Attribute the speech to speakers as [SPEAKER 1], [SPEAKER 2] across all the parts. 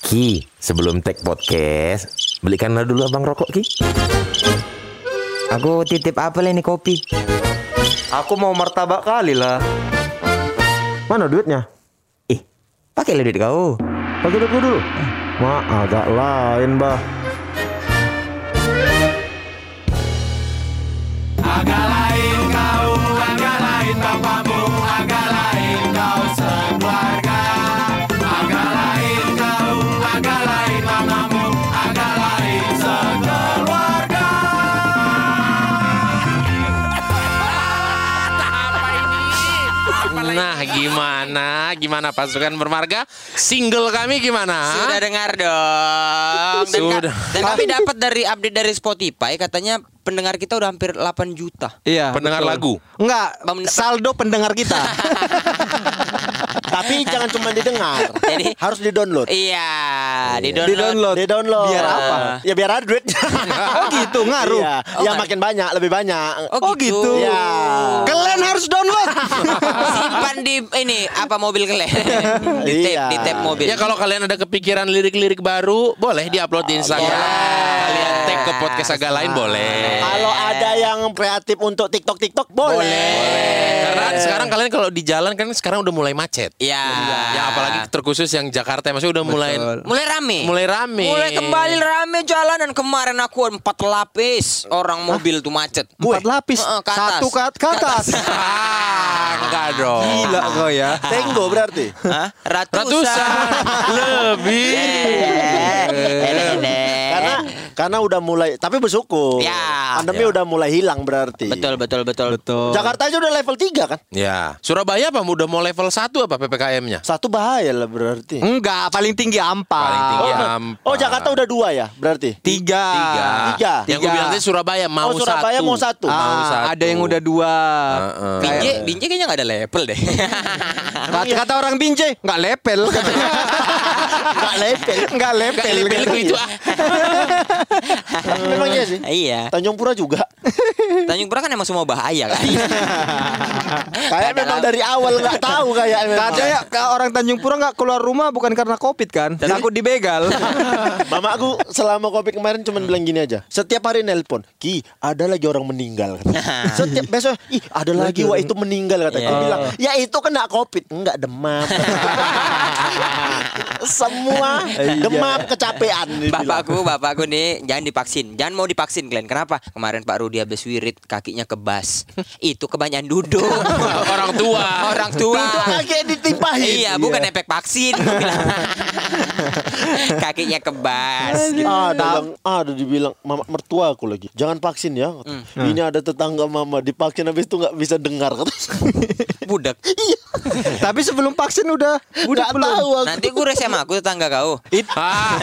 [SPEAKER 1] Ki, sebelum take podcast, belikanlah dulu abang rokok, Ki.
[SPEAKER 2] Aku titip apel ini kopi.
[SPEAKER 3] Aku mau martabak kali lah.
[SPEAKER 4] Mana duitnya?
[SPEAKER 2] Ih, pakai duit kau.
[SPEAKER 4] Pakai duit gua dulu. Ma, agak lain, bah.
[SPEAKER 5] Nah, gimana? Gimana pasukan bermarga? Single kami gimana?
[SPEAKER 6] Sudah dengar dong. Dan, ka-
[SPEAKER 5] Sudah.
[SPEAKER 6] dan kami dapat dari update dari Spotify katanya pendengar kita udah hampir 8 juta.
[SPEAKER 7] Iya.
[SPEAKER 5] Ya, Pendengar lagu.
[SPEAKER 7] Enggak,
[SPEAKER 6] Pem-
[SPEAKER 7] saldo pendengar kita.
[SPEAKER 4] Tapi jangan cuma didengar.
[SPEAKER 6] Jadi-
[SPEAKER 4] harus di-download.
[SPEAKER 6] Iya, di
[SPEAKER 7] Di
[SPEAKER 6] download. Oh,
[SPEAKER 7] download.
[SPEAKER 4] Di-download.
[SPEAKER 7] Biar apa?
[SPEAKER 4] Ya biar ada duit.
[SPEAKER 7] Oh gitu, ngaruh.
[SPEAKER 4] Iya,
[SPEAKER 6] Oh,
[SPEAKER 4] yang
[SPEAKER 6] ngaruh.
[SPEAKER 4] makin banyak, lebih banyak.
[SPEAKER 7] Oh gitu.
[SPEAKER 4] Iya.
[SPEAKER 7] Kalian harus download.
[SPEAKER 6] Simpan di ini apa mobil kalian. di tape,
[SPEAKER 4] Iya.
[SPEAKER 6] di tape mobil.
[SPEAKER 5] Ya kalau kalian ada kepikiran lirik-lirik baru, boleh diupload di Instagram.
[SPEAKER 6] Boleh.
[SPEAKER 5] Kalian tag ke podcast agak lain boleh.
[SPEAKER 4] Kalau ada yang kreatif untuk TikTok-TikTok boleh.
[SPEAKER 5] Karena sekarang kalian kalau di jalan kan sekarang udah mulai macet.
[SPEAKER 6] Iya.
[SPEAKER 5] Ya apalagi terkhusus yang Jakarta maksudnya udah mulai
[SPEAKER 6] Mulai rame.
[SPEAKER 5] mulai rame.
[SPEAKER 6] Mulai kembali rame jalanan kemarin aku empat lapis orang mobil tuh macet.
[SPEAKER 7] Empat lapis.
[SPEAKER 4] Eh,
[SPEAKER 6] Heeh, ke atas.
[SPEAKER 7] Satu kat ke atas.
[SPEAKER 5] Ah, enggak dong.
[SPEAKER 7] Gila kau ya.
[SPEAKER 4] Tenggo berarti.
[SPEAKER 6] Hah? Ratusan.
[SPEAKER 5] Ratusan lebih.
[SPEAKER 4] Karena karena udah mulai, tapi bersyukur.
[SPEAKER 6] Ya.
[SPEAKER 4] Pandemi udah mulai hilang berarti.
[SPEAKER 6] Betul betul betul.
[SPEAKER 7] Betul.
[SPEAKER 4] Jakarta aja udah level 3 kan?
[SPEAKER 5] Ya, Surabaya apa udah mau level 1 apa PPKM-nya?
[SPEAKER 4] Satu bahaya lah berarti.
[SPEAKER 7] Enggak, paling tinggi ampa.
[SPEAKER 5] Paling tinggi
[SPEAKER 4] Oh,
[SPEAKER 5] Ampa.
[SPEAKER 4] oh, Jakarta udah dua ya berarti.
[SPEAKER 7] Tiga.
[SPEAKER 5] Ya tiga.
[SPEAKER 4] Tiga.
[SPEAKER 5] Yang gue
[SPEAKER 7] Tiga.
[SPEAKER 5] bilang tadi Surabaya mau
[SPEAKER 4] Oh, Surabaya
[SPEAKER 5] satu.
[SPEAKER 4] mau satu.
[SPEAKER 7] Ah,
[SPEAKER 5] Mau satu.
[SPEAKER 7] ada yang udah dua.
[SPEAKER 5] Heeh.
[SPEAKER 6] Binje, Binje kayaknya gak ada level deh.
[SPEAKER 7] Kata, kata orang Binjai, nggak lepel.
[SPEAKER 4] Ah,
[SPEAKER 7] Nggak lepel.
[SPEAKER 5] Iya.
[SPEAKER 7] Nggak
[SPEAKER 5] Nggak
[SPEAKER 7] lepel.
[SPEAKER 5] lebih lebih itu ah.
[SPEAKER 4] Memang iya sih.
[SPEAKER 6] iya.
[SPEAKER 4] Tanjung Pura juga.
[SPEAKER 6] Tanjung Pura kan emang semua bahaya kan.
[SPEAKER 4] Kayak memang dari awal nggak tahu kayak memang.
[SPEAKER 7] Kata ya ka- orang Tanjung Pura nggak keluar rumah bukan karena covid kan? Takut dibegal.
[SPEAKER 4] Mamaku selama covid kemarin cuman bilang gini aja. Setiap hari nelpon, "Ki, ada lagi orang meninggal." katanya. Setiap besok, "Ih, ada lagi wah itu meninggal," katanya. Aku bilang, "Ya itu kena covid, enggak demam." Semua demam kecapean dia bilang.
[SPEAKER 6] bapakku, bapakku nih jangan divaksin. Jangan mau divaksin kalian. Kenapa? Kemarin Pak Rudi habis wirid kakinya kebas. Itu kebanyakan duduk.
[SPEAKER 5] Orang tua.
[SPEAKER 6] Orang tua.
[SPEAKER 4] Duduk kayak ditimpahin.
[SPEAKER 6] Iya, bukan efek vaksin. gua bilang. kakinya kebas. gitu.
[SPEAKER 4] Ah, Ada bilang, ada dibilang mama mertua aku lagi. Jangan vaksin ya.
[SPEAKER 6] Hmm.
[SPEAKER 4] Ini ada tetangga mama divaksin habis itu nggak bisa dengar.
[SPEAKER 6] Budak.
[SPEAKER 7] Tapi sebelum vaksin udah udah
[SPEAKER 4] Nggak
[SPEAKER 7] belum.
[SPEAKER 4] tahu aku.
[SPEAKER 6] Nanti gue sama aku tetangga kau.
[SPEAKER 5] Ah.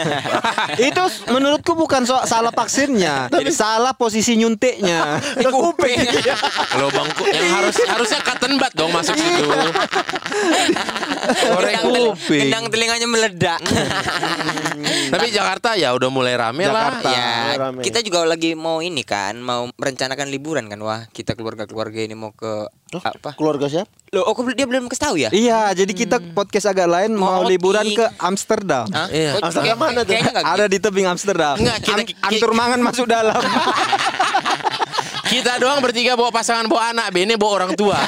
[SPEAKER 7] Itu s- menurutku bukan so salah vaksinnya, salah posisi nyuntiknya.
[SPEAKER 6] Di kuping.
[SPEAKER 5] Lubang ku- yang harus harusnya cotton bud dong masuk situ. Korek
[SPEAKER 6] Gendang tel-
[SPEAKER 5] kuping.
[SPEAKER 6] Gendang telinganya meledak.
[SPEAKER 5] Tapi Jakarta ya udah mulai rame lah.
[SPEAKER 4] Jakarta.
[SPEAKER 5] Ya.
[SPEAKER 6] ya,
[SPEAKER 4] rame.
[SPEAKER 6] kita juga lagi mau ini kan, mau merencanakan liburan kan, wah. Kita keluarga-keluarga ini mau ke apa?
[SPEAKER 4] Keluarga siapa?
[SPEAKER 6] Loh, oh, aku- dia belum kasih tahu ya?
[SPEAKER 7] iya, jadi kita podcast agak lain
[SPEAKER 6] Mau
[SPEAKER 7] mau liburan
[SPEAKER 6] di-
[SPEAKER 7] ke Amsterdam.
[SPEAKER 6] Hah?
[SPEAKER 5] Iya.
[SPEAKER 6] Kok-
[SPEAKER 4] Amsterdam
[SPEAKER 6] kayak-
[SPEAKER 4] mana tuh?
[SPEAKER 6] Kayaknya nggak gitu. Nah,
[SPEAKER 7] Ada di tebing Amsterdam.
[SPEAKER 5] Nggak, kita-
[SPEAKER 7] Am- antur mangan masuk dalam.
[SPEAKER 5] Kita doang bertiga bawa pasangan bawa anak, Bene bawa orang tua.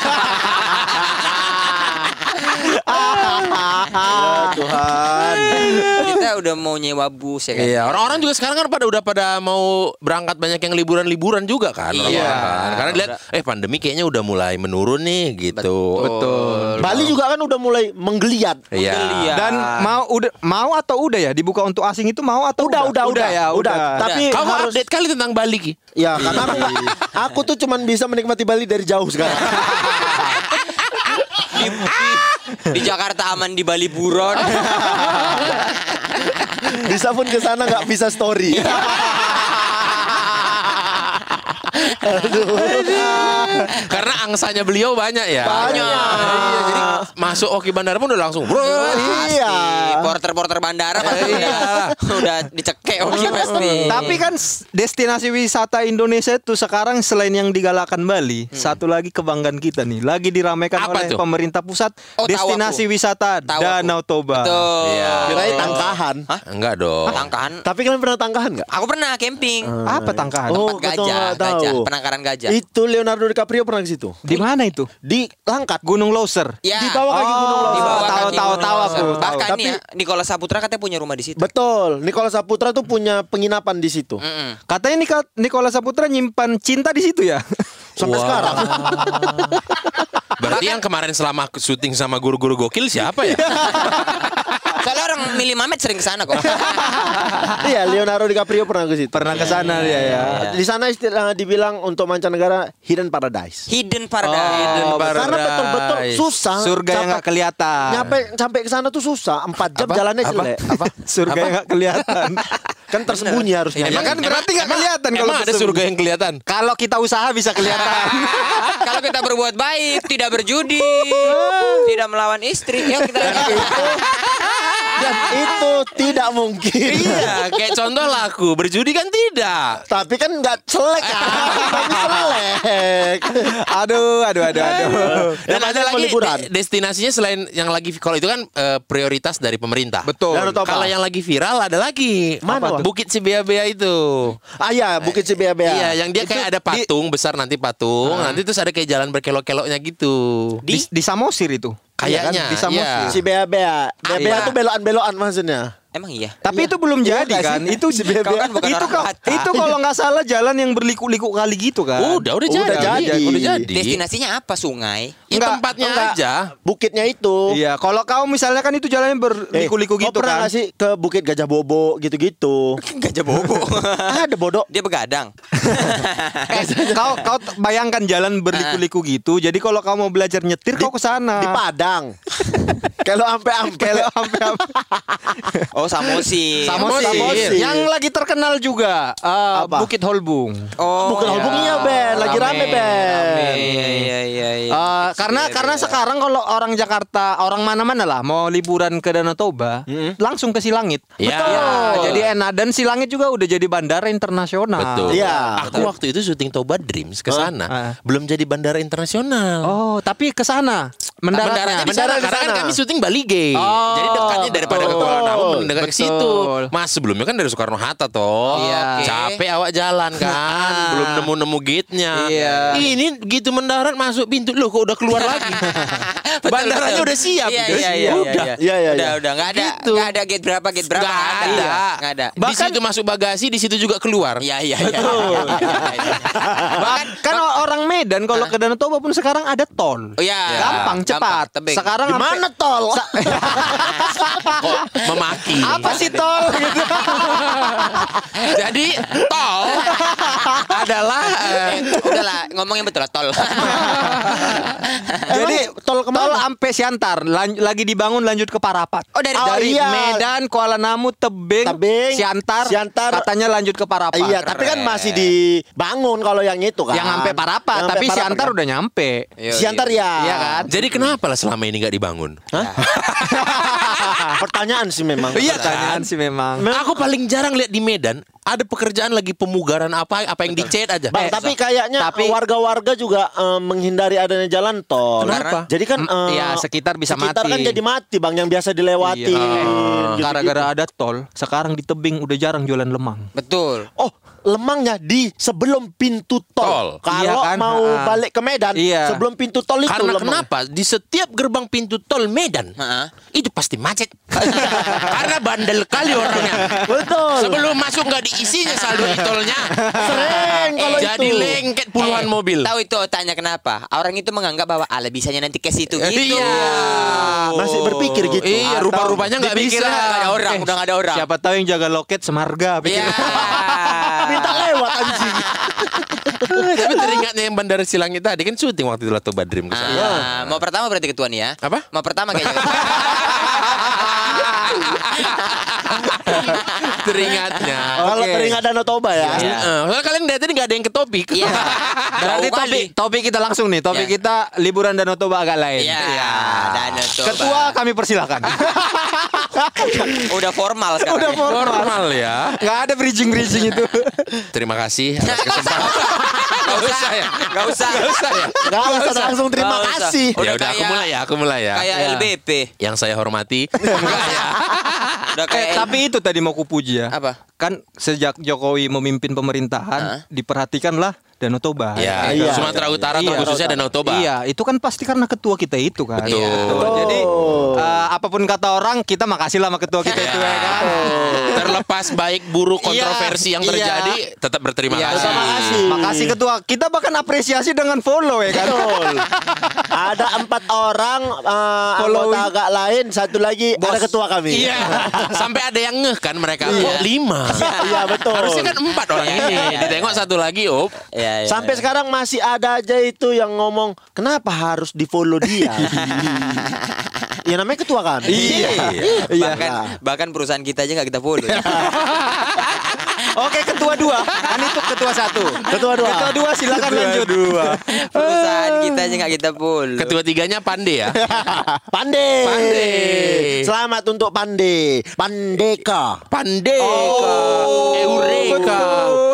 [SPEAKER 7] Tuhan.
[SPEAKER 6] gitu. Kita udah mau nyewa bus ya kan.
[SPEAKER 5] Iya, orang-orang juga sekarang kan pada udah pada mau berangkat banyak yang liburan-liburan juga kan.
[SPEAKER 6] Iya.
[SPEAKER 5] orang-orang kan. Karena lihat eh pandemi kayaknya udah mulai menurun nih gitu. Betul.
[SPEAKER 4] Bali juga kan udah mulai menggeliat.
[SPEAKER 5] Iya.
[SPEAKER 6] Menggeliat.
[SPEAKER 7] Dan mau udah mau atau udah ya dibuka untuk asing itu mau atau
[SPEAKER 4] Udah, udah, udah,
[SPEAKER 7] ya, udah.
[SPEAKER 4] udah. Tapi
[SPEAKER 5] Kamu
[SPEAKER 4] harus
[SPEAKER 5] update kali tentang Bali Ki.
[SPEAKER 4] ya karena aku, aku tuh cuman bisa menikmati Bali dari jauh sekarang.
[SPEAKER 6] Di, di- di Jakarta aman di Bali buron.
[SPEAKER 4] bisa pun ke sana nggak bisa story.
[SPEAKER 6] Iya.
[SPEAKER 5] Karena angsanya beliau banyak ya.
[SPEAKER 4] Banyak.
[SPEAKER 5] Iya, jadi masuk Oki Bandara pun udah langsung. Bro.
[SPEAKER 4] Iya.
[SPEAKER 6] Di Port porter-porter bandara pasti udah, udah dicekek oke pasti.
[SPEAKER 7] Tapi kan s- destinasi wisata Indonesia itu sekarang selain yang digalakan Bali, satu lagi kebanggaan kita nih, lagi diramaikan
[SPEAKER 5] Apa
[SPEAKER 7] oleh
[SPEAKER 5] tuh?
[SPEAKER 7] pemerintah pusat
[SPEAKER 6] Oh,
[SPEAKER 7] destinasi
[SPEAKER 6] Tawaku.
[SPEAKER 7] wisata
[SPEAKER 6] Tawaku.
[SPEAKER 7] Danau Toba.
[SPEAKER 6] Betul.
[SPEAKER 4] Kirain tangkahan.
[SPEAKER 5] Enggak dong.
[SPEAKER 6] Tangkahan.
[SPEAKER 4] Tapi kalian pernah tangkahan nggak?
[SPEAKER 6] Aku pernah camping. Ah,
[SPEAKER 7] Apa tangkahan?
[SPEAKER 6] Tempat
[SPEAKER 4] kau tahu
[SPEAKER 6] gajah,
[SPEAKER 4] nggak tahu.
[SPEAKER 6] gajah, penangkaran gajah.
[SPEAKER 4] Itu Leonardo DiCaprio pernah ke situ.
[SPEAKER 7] Di mana itu?
[SPEAKER 4] Di Langkat.
[SPEAKER 7] Gunung Loser.
[SPEAKER 6] Ya.
[SPEAKER 4] Di bawah kaki Gunung
[SPEAKER 6] Di
[SPEAKER 4] Lawu.
[SPEAKER 6] bawah
[SPEAKER 7] Tahu,
[SPEAKER 6] kaki
[SPEAKER 7] tahu,
[SPEAKER 6] Gunung
[SPEAKER 7] tahu
[SPEAKER 6] Lawang.
[SPEAKER 7] aku, tahu.
[SPEAKER 6] Bahkan
[SPEAKER 4] Tapi-
[SPEAKER 6] nih ya, Nicola Saputra katanya punya rumah di situ.
[SPEAKER 4] Betul, Nikola Saputra tuh punya penginapan di situ.
[SPEAKER 6] Mm-mm.
[SPEAKER 7] Katanya Nika- Nicola Saputra nyimpan cinta di situ ya.
[SPEAKER 4] Sampai sekarang.
[SPEAKER 5] Berarti yang kemarin selama aku syuting sama guru-guru gokil siapa ya?
[SPEAKER 6] Soalnya orang milih Mamet sering kesana kok.
[SPEAKER 4] iya, Leonardo DiCaprio pernah ke situ. Iya.
[SPEAKER 7] Pernah ke sana dia ya.
[SPEAKER 4] Di sana istilah dibilang untuk mancanegara hidden paradise.
[SPEAKER 6] Hidden Paradise.
[SPEAKER 4] Karena betul-betul susah.
[SPEAKER 7] Surga yang nggak
[SPEAKER 4] sampai-
[SPEAKER 7] kelihatan.
[SPEAKER 4] nyampe sampai ke sana tuh susah. Empat jam jalannya jelek.
[SPEAKER 5] Apa?
[SPEAKER 7] Surga yang nggak kelihatan.
[SPEAKER 4] Kan tersembunyi harusnya.
[SPEAKER 7] ya kan berarti nggak kelihatan kalau
[SPEAKER 5] Emang ada
[SPEAKER 7] tersembunyi.
[SPEAKER 5] surga yang kelihatan?
[SPEAKER 7] Kalau kita usaha bisa kelihatan.
[SPEAKER 6] Kalau kita berbuat baik, tidak berjudi, tidak melawan istri, ya kita
[SPEAKER 4] Dan itu tidak mungkin.
[SPEAKER 5] Iya, kayak contoh lah aku berjudi kan tidak.
[SPEAKER 4] Tapi kan nggak selek
[SPEAKER 7] Iya.
[SPEAKER 4] kan? Tapi selek.
[SPEAKER 7] aduh, aduh, aduh, aduh.
[SPEAKER 5] Dan
[SPEAKER 4] Namanya
[SPEAKER 5] ada
[SPEAKER 4] mau
[SPEAKER 5] lagi
[SPEAKER 4] Eh, liburan.
[SPEAKER 5] de- destinasinya selain yang lagi kalau itu kan eh, prioritas dari pemerintah.
[SPEAKER 7] Betul.
[SPEAKER 4] Danau Toba.
[SPEAKER 5] Kalau yang lagi viral ada lagi.
[SPEAKER 4] Mana,
[SPEAKER 5] Apa
[SPEAKER 4] Wak?
[SPEAKER 5] tuh? Bukit Sibea-bea itu.
[SPEAKER 4] Ah ya, Bukit Cibiabea.
[SPEAKER 5] Iya, yang dia kayak ada patung besar nanti patung, nanti terus ada kayak jalan berkelok-keloknya gitu.
[SPEAKER 7] Di, di Samosir itu. kan?
[SPEAKER 5] Kayaknya,
[SPEAKER 7] Di Samosir.
[SPEAKER 5] iya.
[SPEAKER 4] Si Bea Bea. Bea
[SPEAKER 7] Ah,
[SPEAKER 4] Bea
[SPEAKER 7] iya.
[SPEAKER 6] Apa?
[SPEAKER 4] tuh beloan-beloan maksudnya.
[SPEAKER 6] Emang iya.
[SPEAKER 7] Tapi itu belum jadi
[SPEAKER 4] nggak
[SPEAKER 7] kan?
[SPEAKER 4] sih?
[SPEAKER 7] Itu
[SPEAKER 4] Si Bebe.
[SPEAKER 7] Kau kan bukan itu
[SPEAKER 6] orang
[SPEAKER 7] kalau
[SPEAKER 6] Batak.
[SPEAKER 7] itu kalau nggak salah jalan yang berliku-liku kali gitu kan?
[SPEAKER 5] Udah, udah,
[SPEAKER 4] Udah
[SPEAKER 5] jadi.
[SPEAKER 4] jadi.
[SPEAKER 5] Udah jadi.
[SPEAKER 6] Destinasinya apa sungai?
[SPEAKER 5] Ya, tempatnya
[SPEAKER 4] Enggak,
[SPEAKER 5] aja.
[SPEAKER 4] Bukitnya itu.
[SPEAKER 7] Iya, kalau kau misalnya kan itu jalannya
[SPEAKER 4] Eh,
[SPEAKER 7] berliku-liku
[SPEAKER 4] kau
[SPEAKER 7] gitu
[SPEAKER 4] pernah
[SPEAKER 7] kan?
[SPEAKER 4] nggak sih ke Bukit Gajah Bobo gitu-gitu?
[SPEAKER 6] Gajah bobo.
[SPEAKER 4] Ada bodoh.
[SPEAKER 6] Dia begadang.
[SPEAKER 7] Eh, kau kau t- bayangkan jalan berliku-liku gitu. Jadi kalau kau mau belajar nyetir kau ke sana.
[SPEAKER 4] Di Padang. Ah. Kalau ampe-ampe.
[SPEAKER 7] Kalau sampai
[SPEAKER 6] Oh Samosi.
[SPEAKER 5] Samosir.
[SPEAKER 4] Samosir.
[SPEAKER 7] Yang lagi terkenal juga eh,
[SPEAKER 4] Apa?
[SPEAKER 7] Bukit Holbung.
[SPEAKER 6] Oh.
[SPEAKER 4] Bukan
[SPEAKER 6] iya.
[SPEAKER 4] album iya, Ben. Lagi rame, Ben.
[SPEAKER 6] Rame, Iya iya iya. iya.
[SPEAKER 7] Eh, karena karena sekarang kalau orang Jakarta, orang mana-mana lah mau liburan ke Danau Toba, langsung ke Silangit.
[SPEAKER 5] Ya.
[SPEAKER 7] Iya. Betul.
[SPEAKER 5] Betul.
[SPEAKER 7] Jadi enak dan Silangit juga udah jadi bandara internasional.
[SPEAKER 5] Betul.
[SPEAKER 4] Iya.
[SPEAKER 5] Aku waktu itu syuting Toba Dreams ke sana,
[SPEAKER 7] Ah.
[SPEAKER 5] belum jadi bandara internasional.
[SPEAKER 7] Oh, tapi ke sana mendaratnya.
[SPEAKER 5] Mendaratnya, mendarat,
[SPEAKER 4] Mendarat ke
[SPEAKER 5] karena kan
[SPEAKER 4] sana.
[SPEAKER 5] kami syuting Bali Gay.
[SPEAKER 7] Oh,
[SPEAKER 5] Jadi dekatnya daripada ke
[SPEAKER 4] betul.
[SPEAKER 5] Kuala Namu mending dekat ke
[SPEAKER 7] Betul.
[SPEAKER 5] situ. Mas sebelumnya kan dari Soekarno Hatta toh.
[SPEAKER 7] Iya.
[SPEAKER 5] Capek awak jalan kan, belum nemu-nemu gate-nya.
[SPEAKER 7] Iya.
[SPEAKER 5] Ini gitu mendarat masuk pintu loh kok udah keluar lagi.
[SPEAKER 6] Betul,
[SPEAKER 5] Bandaranya
[SPEAKER 6] betul.
[SPEAKER 5] udah siap.
[SPEAKER 6] Iya
[SPEAKER 5] gitu.
[SPEAKER 6] iya iya.
[SPEAKER 5] Udah.
[SPEAKER 4] Iya, iya,
[SPEAKER 6] Udah
[SPEAKER 4] iya.
[SPEAKER 6] udah nggak ada
[SPEAKER 5] Gitu.
[SPEAKER 6] nggak ada gate berapa gate berapa
[SPEAKER 5] Gak ada.
[SPEAKER 6] nggak ada.
[SPEAKER 5] di situ masuk bagasi, di situ juga keluar.
[SPEAKER 6] Iya iya iya. Bahkan
[SPEAKER 7] Kan orang Medan kalau ke Danau Toba pun sekarang ada tol.
[SPEAKER 6] Oh, iya.
[SPEAKER 7] Ah. Gampang,
[SPEAKER 6] Gampang,
[SPEAKER 7] cepat.
[SPEAKER 6] tebing.
[SPEAKER 7] Sekarang
[SPEAKER 4] Di
[SPEAKER 7] sampai-
[SPEAKER 4] mana tol?
[SPEAKER 5] Kok memaki.
[SPEAKER 7] apa sih tol gitu?
[SPEAKER 5] Jadi tol adalah eh,
[SPEAKER 6] udahlah ngomongnya betul lah tol.
[SPEAKER 7] Jadi
[SPEAKER 4] tol
[SPEAKER 7] Tol
[SPEAKER 4] kemana?
[SPEAKER 7] ampe Siantar lan- lagi dibangun lanjut ke Parapat.
[SPEAKER 6] Oh, dari-
[SPEAKER 7] dari
[SPEAKER 4] Oh, iya.
[SPEAKER 7] Medan, Kuala Namu, Tebing,
[SPEAKER 4] Tebing,
[SPEAKER 7] Siantar,
[SPEAKER 4] Siantar.
[SPEAKER 7] katanya lanjut ke Parapat.
[SPEAKER 4] Iya, tapi kan masih dibangun kalau yang itu kan.
[SPEAKER 7] yang ampe Parapat,
[SPEAKER 4] Yang
[SPEAKER 7] ya?
[SPEAKER 4] ampe
[SPEAKER 7] tapi
[SPEAKER 4] Parapat,
[SPEAKER 7] Siantar
[SPEAKER 4] kan?
[SPEAKER 7] udah nyampe.
[SPEAKER 4] Siantar ya.
[SPEAKER 7] Iya kan?
[SPEAKER 5] Jadi kenapa lah selama ini nggak dibangun?
[SPEAKER 4] Pertanyaan sih memang.
[SPEAKER 7] Iya kan sih memang.
[SPEAKER 5] Aku paling jarang lihat di Medan ada pekerjaan lagi pemugaran apa apa yang dicet aja.
[SPEAKER 4] Bang,
[SPEAKER 5] Eh,
[SPEAKER 4] tapi kayaknya
[SPEAKER 7] tapi-
[SPEAKER 4] warga-warga juga eh, menghindari adanya jalan tol.
[SPEAKER 5] Kenapa?
[SPEAKER 4] Jadi kan
[SPEAKER 7] Mm,
[SPEAKER 4] eh,
[SPEAKER 7] iya, sekitar bisa
[SPEAKER 4] sekitar kan
[SPEAKER 7] mati.
[SPEAKER 4] jadi mati, Bang, yang biasa
[SPEAKER 7] Eh,
[SPEAKER 4] dilewati. Eh, Gitu-gitu.
[SPEAKER 7] Iya. Gara-gara ada tol, sekarang di Tebing udah jarang jualan lemang.
[SPEAKER 6] Betul.
[SPEAKER 4] Oh, lemangnya di sebelum pintu tol.
[SPEAKER 5] Tol.
[SPEAKER 4] Kalau
[SPEAKER 7] Iya kan,
[SPEAKER 4] mau
[SPEAKER 7] ha-ha.
[SPEAKER 4] balik ke Medan,
[SPEAKER 7] Iya.
[SPEAKER 4] sebelum pintu tol itu
[SPEAKER 5] karena
[SPEAKER 4] lemang.
[SPEAKER 5] kenapa di setiap gerbang pintu tol Medan
[SPEAKER 6] Ha-ha.
[SPEAKER 5] itu pasti macet karena bandel kali orangnya
[SPEAKER 4] Betul.
[SPEAKER 5] sebelum masuk nggak diisinya saldo di tolnya
[SPEAKER 4] Sering kalau
[SPEAKER 5] jadi
[SPEAKER 4] itu. Iya.
[SPEAKER 5] lengket puluhan
[SPEAKER 6] Eh,
[SPEAKER 5] mobil
[SPEAKER 6] Tahu itu tanya kenapa? Orang itu menganggap bahwa ala bisanya nanti ke situ
[SPEAKER 4] Eh,
[SPEAKER 6] gitu.
[SPEAKER 5] Iya.
[SPEAKER 4] Masih berpikir gitu.
[SPEAKER 5] Iya,
[SPEAKER 4] Atau
[SPEAKER 5] rupa-rupanya nggak bisa.
[SPEAKER 6] Dipikirnya nggak ada orang, udah nggak
[SPEAKER 7] Ya,
[SPEAKER 6] ada orang.
[SPEAKER 7] Siapa tahu yang jaga loket semarga pikir.
[SPEAKER 6] Iya.
[SPEAKER 4] Minta lewat anjing.
[SPEAKER 5] Tapi teringatnya yang bandara Silangit tadi kan syuting waktu itu lah Toba Dream ke sana.
[SPEAKER 6] Ah, mau pertama berarti ketua nih ya.
[SPEAKER 5] Apa?
[SPEAKER 6] Mau pertama kayaknya.
[SPEAKER 4] Ah.
[SPEAKER 5] Teringatnya.
[SPEAKER 4] Kalau
[SPEAKER 7] Oke.
[SPEAKER 4] teringat Danau Toba ya.
[SPEAKER 5] Iya. Eh, soalnya kalian dari tadi nggak ada yang ke topik.
[SPEAKER 6] Iya.
[SPEAKER 7] Berarti
[SPEAKER 6] Jauh kali.
[SPEAKER 7] topik, topik kita langsung nih, topik
[SPEAKER 6] Iya.
[SPEAKER 7] kita liburan Danau Toba agak lain.
[SPEAKER 6] Iya.
[SPEAKER 7] Iya.
[SPEAKER 6] Danau Toba.
[SPEAKER 7] Ketua kami persilakan.
[SPEAKER 6] Udah formal sekarang.
[SPEAKER 7] Udah
[SPEAKER 6] ya.
[SPEAKER 5] Normal ya.
[SPEAKER 7] Gak ada bridging-bridging itu.
[SPEAKER 5] Terima kasih atas kesempatan. Gak usah ya.
[SPEAKER 6] Gak usah.
[SPEAKER 5] Gak usah ya.
[SPEAKER 4] Gak usah langsung terima
[SPEAKER 6] Nggak usah.
[SPEAKER 4] kasih.
[SPEAKER 5] Ya
[SPEAKER 6] Udah
[SPEAKER 5] udah aku
[SPEAKER 6] kayak-
[SPEAKER 5] mulai ya, aku mulai ya.
[SPEAKER 6] Kayak Iya, LBP.
[SPEAKER 5] Yang saya hormati. Enggak ya.
[SPEAKER 6] Udah kayak
[SPEAKER 7] Eh, tapi itu tadi mau kupuji ya.
[SPEAKER 6] Apa?
[SPEAKER 7] Kan sejak Jokowi memimpin
[SPEAKER 6] Hah?
[SPEAKER 7] pemerintahan diperhatikanlah Danau Toba.
[SPEAKER 5] Ya,
[SPEAKER 4] Iya.
[SPEAKER 5] Sumatera Utara
[SPEAKER 7] Iya.
[SPEAKER 5] terkhususnya Danau Toba.
[SPEAKER 7] Iya, itu kan pasti karena ketua kita itu kan.
[SPEAKER 5] Betul.
[SPEAKER 7] Jadi eh, apapun kata orang kita makasih lah sama ketua kita itu ya
[SPEAKER 5] Iya.
[SPEAKER 7] kan.
[SPEAKER 5] Terlepas baik buruk kontroversi
[SPEAKER 7] Iya,
[SPEAKER 5] yang
[SPEAKER 7] iya.
[SPEAKER 5] terjadi tetap berterima
[SPEAKER 7] Iya.
[SPEAKER 5] kasih.
[SPEAKER 4] kasih.
[SPEAKER 7] Makasih ketua. Kita bahkan apresiasi dengan follow ya kan.
[SPEAKER 4] Betul. ada empat orang eh,
[SPEAKER 7] Following.
[SPEAKER 4] anggota agak lain, satu lagi ada ketua kami.
[SPEAKER 5] Iya. Sampai ada yang ngeh kan mereka. Kok lima?
[SPEAKER 4] Iya betul.
[SPEAKER 5] Harusnya kan empat orang
[SPEAKER 6] Iya,
[SPEAKER 5] ini.
[SPEAKER 6] iya, iya.
[SPEAKER 5] Ditengok satu lagi, Op.
[SPEAKER 6] Iya, iya.
[SPEAKER 4] Sampai sekarang masih ada aja itu yang ngomong kenapa harus di follow dia? ya namanya ketua kan.
[SPEAKER 7] Iya.
[SPEAKER 6] Bahkan bahkan perusahaan kita aja nggak kita follow. ya.
[SPEAKER 7] Oke, ketua dua. Kan itu ketua satu.
[SPEAKER 4] Ketua dua.
[SPEAKER 7] Ketua dua silakan lanjut.
[SPEAKER 6] perusahaan kita aja nggak kita follow.
[SPEAKER 5] Ketua tiganya Pande ya.
[SPEAKER 4] Pandai.
[SPEAKER 5] Pande.
[SPEAKER 4] Selamat untuk Pandai. Pandeka.
[SPEAKER 5] Pande. Eureka.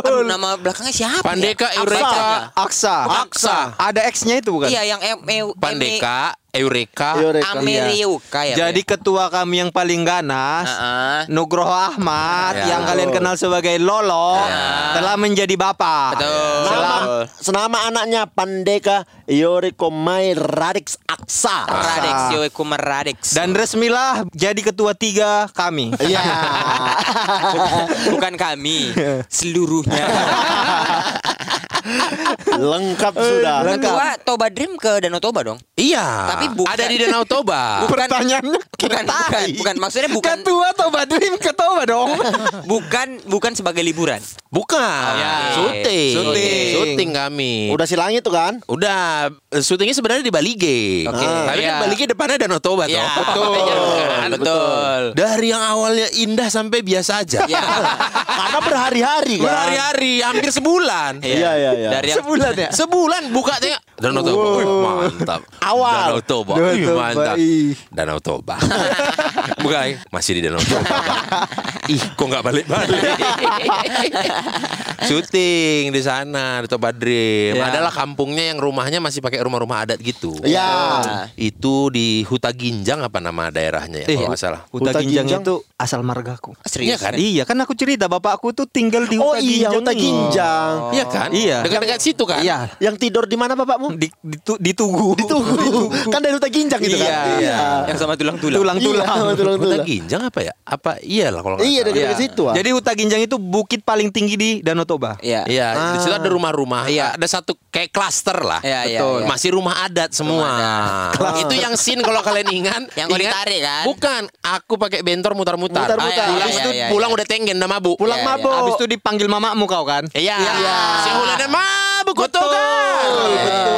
[SPEAKER 6] Aduh, nama belakangnya siapa?
[SPEAKER 5] Pandeka
[SPEAKER 6] ya?
[SPEAKER 5] Eureka.
[SPEAKER 7] Aksa.
[SPEAKER 5] Aksa.
[SPEAKER 7] Ada X-nya itu bukan?
[SPEAKER 6] Iya, yang M M
[SPEAKER 5] Pandeka Eureka.
[SPEAKER 4] Iya.
[SPEAKER 6] Ameriuka ya.
[SPEAKER 7] Jadi ketua kami yang paling ganas
[SPEAKER 6] Heeh.
[SPEAKER 7] Nugroho Ahmad
[SPEAKER 5] Ya.
[SPEAKER 7] yang kalian kenal sebagai Lolo telah menjadi bapak.
[SPEAKER 6] Betul.
[SPEAKER 4] Nama, senama anaknya Pandeka Yoriko Mai Radix Aksa. Ah.
[SPEAKER 6] Radix Yoeku Radix.
[SPEAKER 7] Dan resmilah jadi ketua tiga kami.
[SPEAKER 4] Iya.
[SPEAKER 6] Oh, bukan kami, seluruhnya.
[SPEAKER 4] Lengkap sudah.
[SPEAKER 6] Ketua Toba Dream ke Danau Toba dong.
[SPEAKER 5] Iya.
[SPEAKER 6] Tapi bukan-
[SPEAKER 5] ada di Danau Toba.
[SPEAKER 6] Bukan
[SPEAKER 7] Pertanyaannya
[SPEAKER 6] bukan bukan, bukan maksudnya bukan
[SPEAKER 7] ketua atau badrim ketua dong.
[SPEAKER 6] bukan bukan sebagai liburan.
[SPEAKER 5] Bukan.
[SPEAKER 6] Ya.
[SPEAKER 5] Syuting.
[SPEAKER 6] Syuting.
[SPEAKER 5] Syuting kami.
[SPEAKER 4] Udah si langit tuh kan?
[SPEAKER 5] Udah eh, syutingnya sebenarnya di Bali G.
[SPEAKER 6] Oke.
[SPEAKER 5] Tapi
[SPEAKER 6] Iya.
[SPEAKER 5] kan Bali G depannya Danau Toba
[SPEAKER 6] Ya,
[SPEAKER 5] toh. Iya,
[SPEAKER 6] makanya bukan. Betul.
[SPEAKER 5] Dari yang awalnya indah sampai biasa aja.
[SPEAKER 6] Ya.
[SPEAKER 4] Karena berhari-hari kan.
[SPEAKER 5] Berhari-hari hampir sebulan.
[SPEAKER 4] Iya iya iya.
[SPEAKER 6] Dari yang
[SPEAKER 7] ya.
[SPEAKER 5] Sebulan buka tengok Danau Toba. Wih, mantap.
[SPEAKER 4] Awal.
[SPEAKER 5] Danau Toba.
[SPEAKER 7] Danau
[SPEAKER 5] Wih,
[SPEAKER 7] Toba,
[SPEAKER 5] mantap.
[SPEAKER 7] ih.
[SPEAKER 5] Danau Toba. Bukan masih di Danau Toba. Bang. Ih, kok nggak balik-balik. Syuting di sana di Toba Dream.
[SPEAKER 6] Ya.
[SPEAKER 5] Adalah kampungnya yang rumahnya masih pakai rumah-rumah adat gitu.
[SPEAKER 7] Ya.
[SPEAKER 4] Iya.
[SPEAKER 5] Itu di Huta Ginjang apa nama daerahnya ya kalau nggak salah.
[SPEAKER 7] Huta,
[SPEAKER 4] Huta
[SPEAKER 7] Ginjang,
[SPEAKER 4] Ginjang.
[SPEAKER 7] itu asal margaku.
[SPEAKER 5] Serius? Iya kan?
[SPEAKER 7] Iya kan aku cerita bapak aku tuh tinggal di
[SPEAKER 4] Oh
[SPEAKER 7] Huta
[SPEAKER 4] iya,
[SPEAKER 7] Ginjang.
[SPEAKER 4] Huta
[SPEAKER 7] ini.
[SPEAKER 4] Ginjang.
[SPEAKER 5] Iya kan?
[SPEAKER 7] Iya.
[SPEAKER 5] Dekat-dekat situ kan?
[SPEAKER 7] Iya.
[SPEAKER 4] Yang tidur di mana bapakmu?
[SPEAKER 7] Di, di, tu- di Tugu.
[SPEAKER 4] Tugu. kan dari Huta Ginjang gitu kan.
[SPEAKER 7] Iya.
[SPEAKER 6] yang sama tulang-tulang.
[SPEAKER 7] Tulang-tulang.
[SPEAKER 4] Iya, tulang-tulang.
[SPEAKER 5] Huta Ginjang apa ya? Apa iyalah kalau nggak
[SPEAKER 4] Iya,
[SPEAKER 5] salah.
[SPEAKER 4] dari
[SPEAKER 7] Iya.
[SPEAKER 4] situ. ah.
[SPEAKER 7] Jadi Huta Ginjang itu bukit paling tinggi di Danau Toba.
[SPEAKER 6] Iya.
[SPEAKER 5] Iya, di situ ada rumah-rumah. Ada satu kayak klaster lah.
[SPEAKER 6] Iya, iya,
[SPEAKER 5] Betul.
[SPEAKER 6] iya.
[SPEAKER 5] Masih rumah adat semua. Itu yang scene kalau kalian ingat.
[SPEAKER 6] Yang kau
[SPEAKER 5] ingat?
[SPEAKER 6] ditarik kan?
[SPEAKER 5] Bukan, aku pakai bentor mutar-mutar.
[SPEAKER 4] Mutar-mutar.
[SPEAKER 5] Ah, iya, Pulang,
[SPEAKER 6] iya,
[SPEAKER 5] itu
[SPEAKER 6] iya, iya.
[SPEAKER 5] pulang udah tenggen udah mabuk.
[SPEAKER 4] Pulang
[SPEAKER 6] Iya, iya.
[SPEAKER 4] mabok.
[SPEAKER 7] Habis itu dipanggil mamamu kau kan?
[SPEAKER 5] Iya. Si Hulana mabuk betul.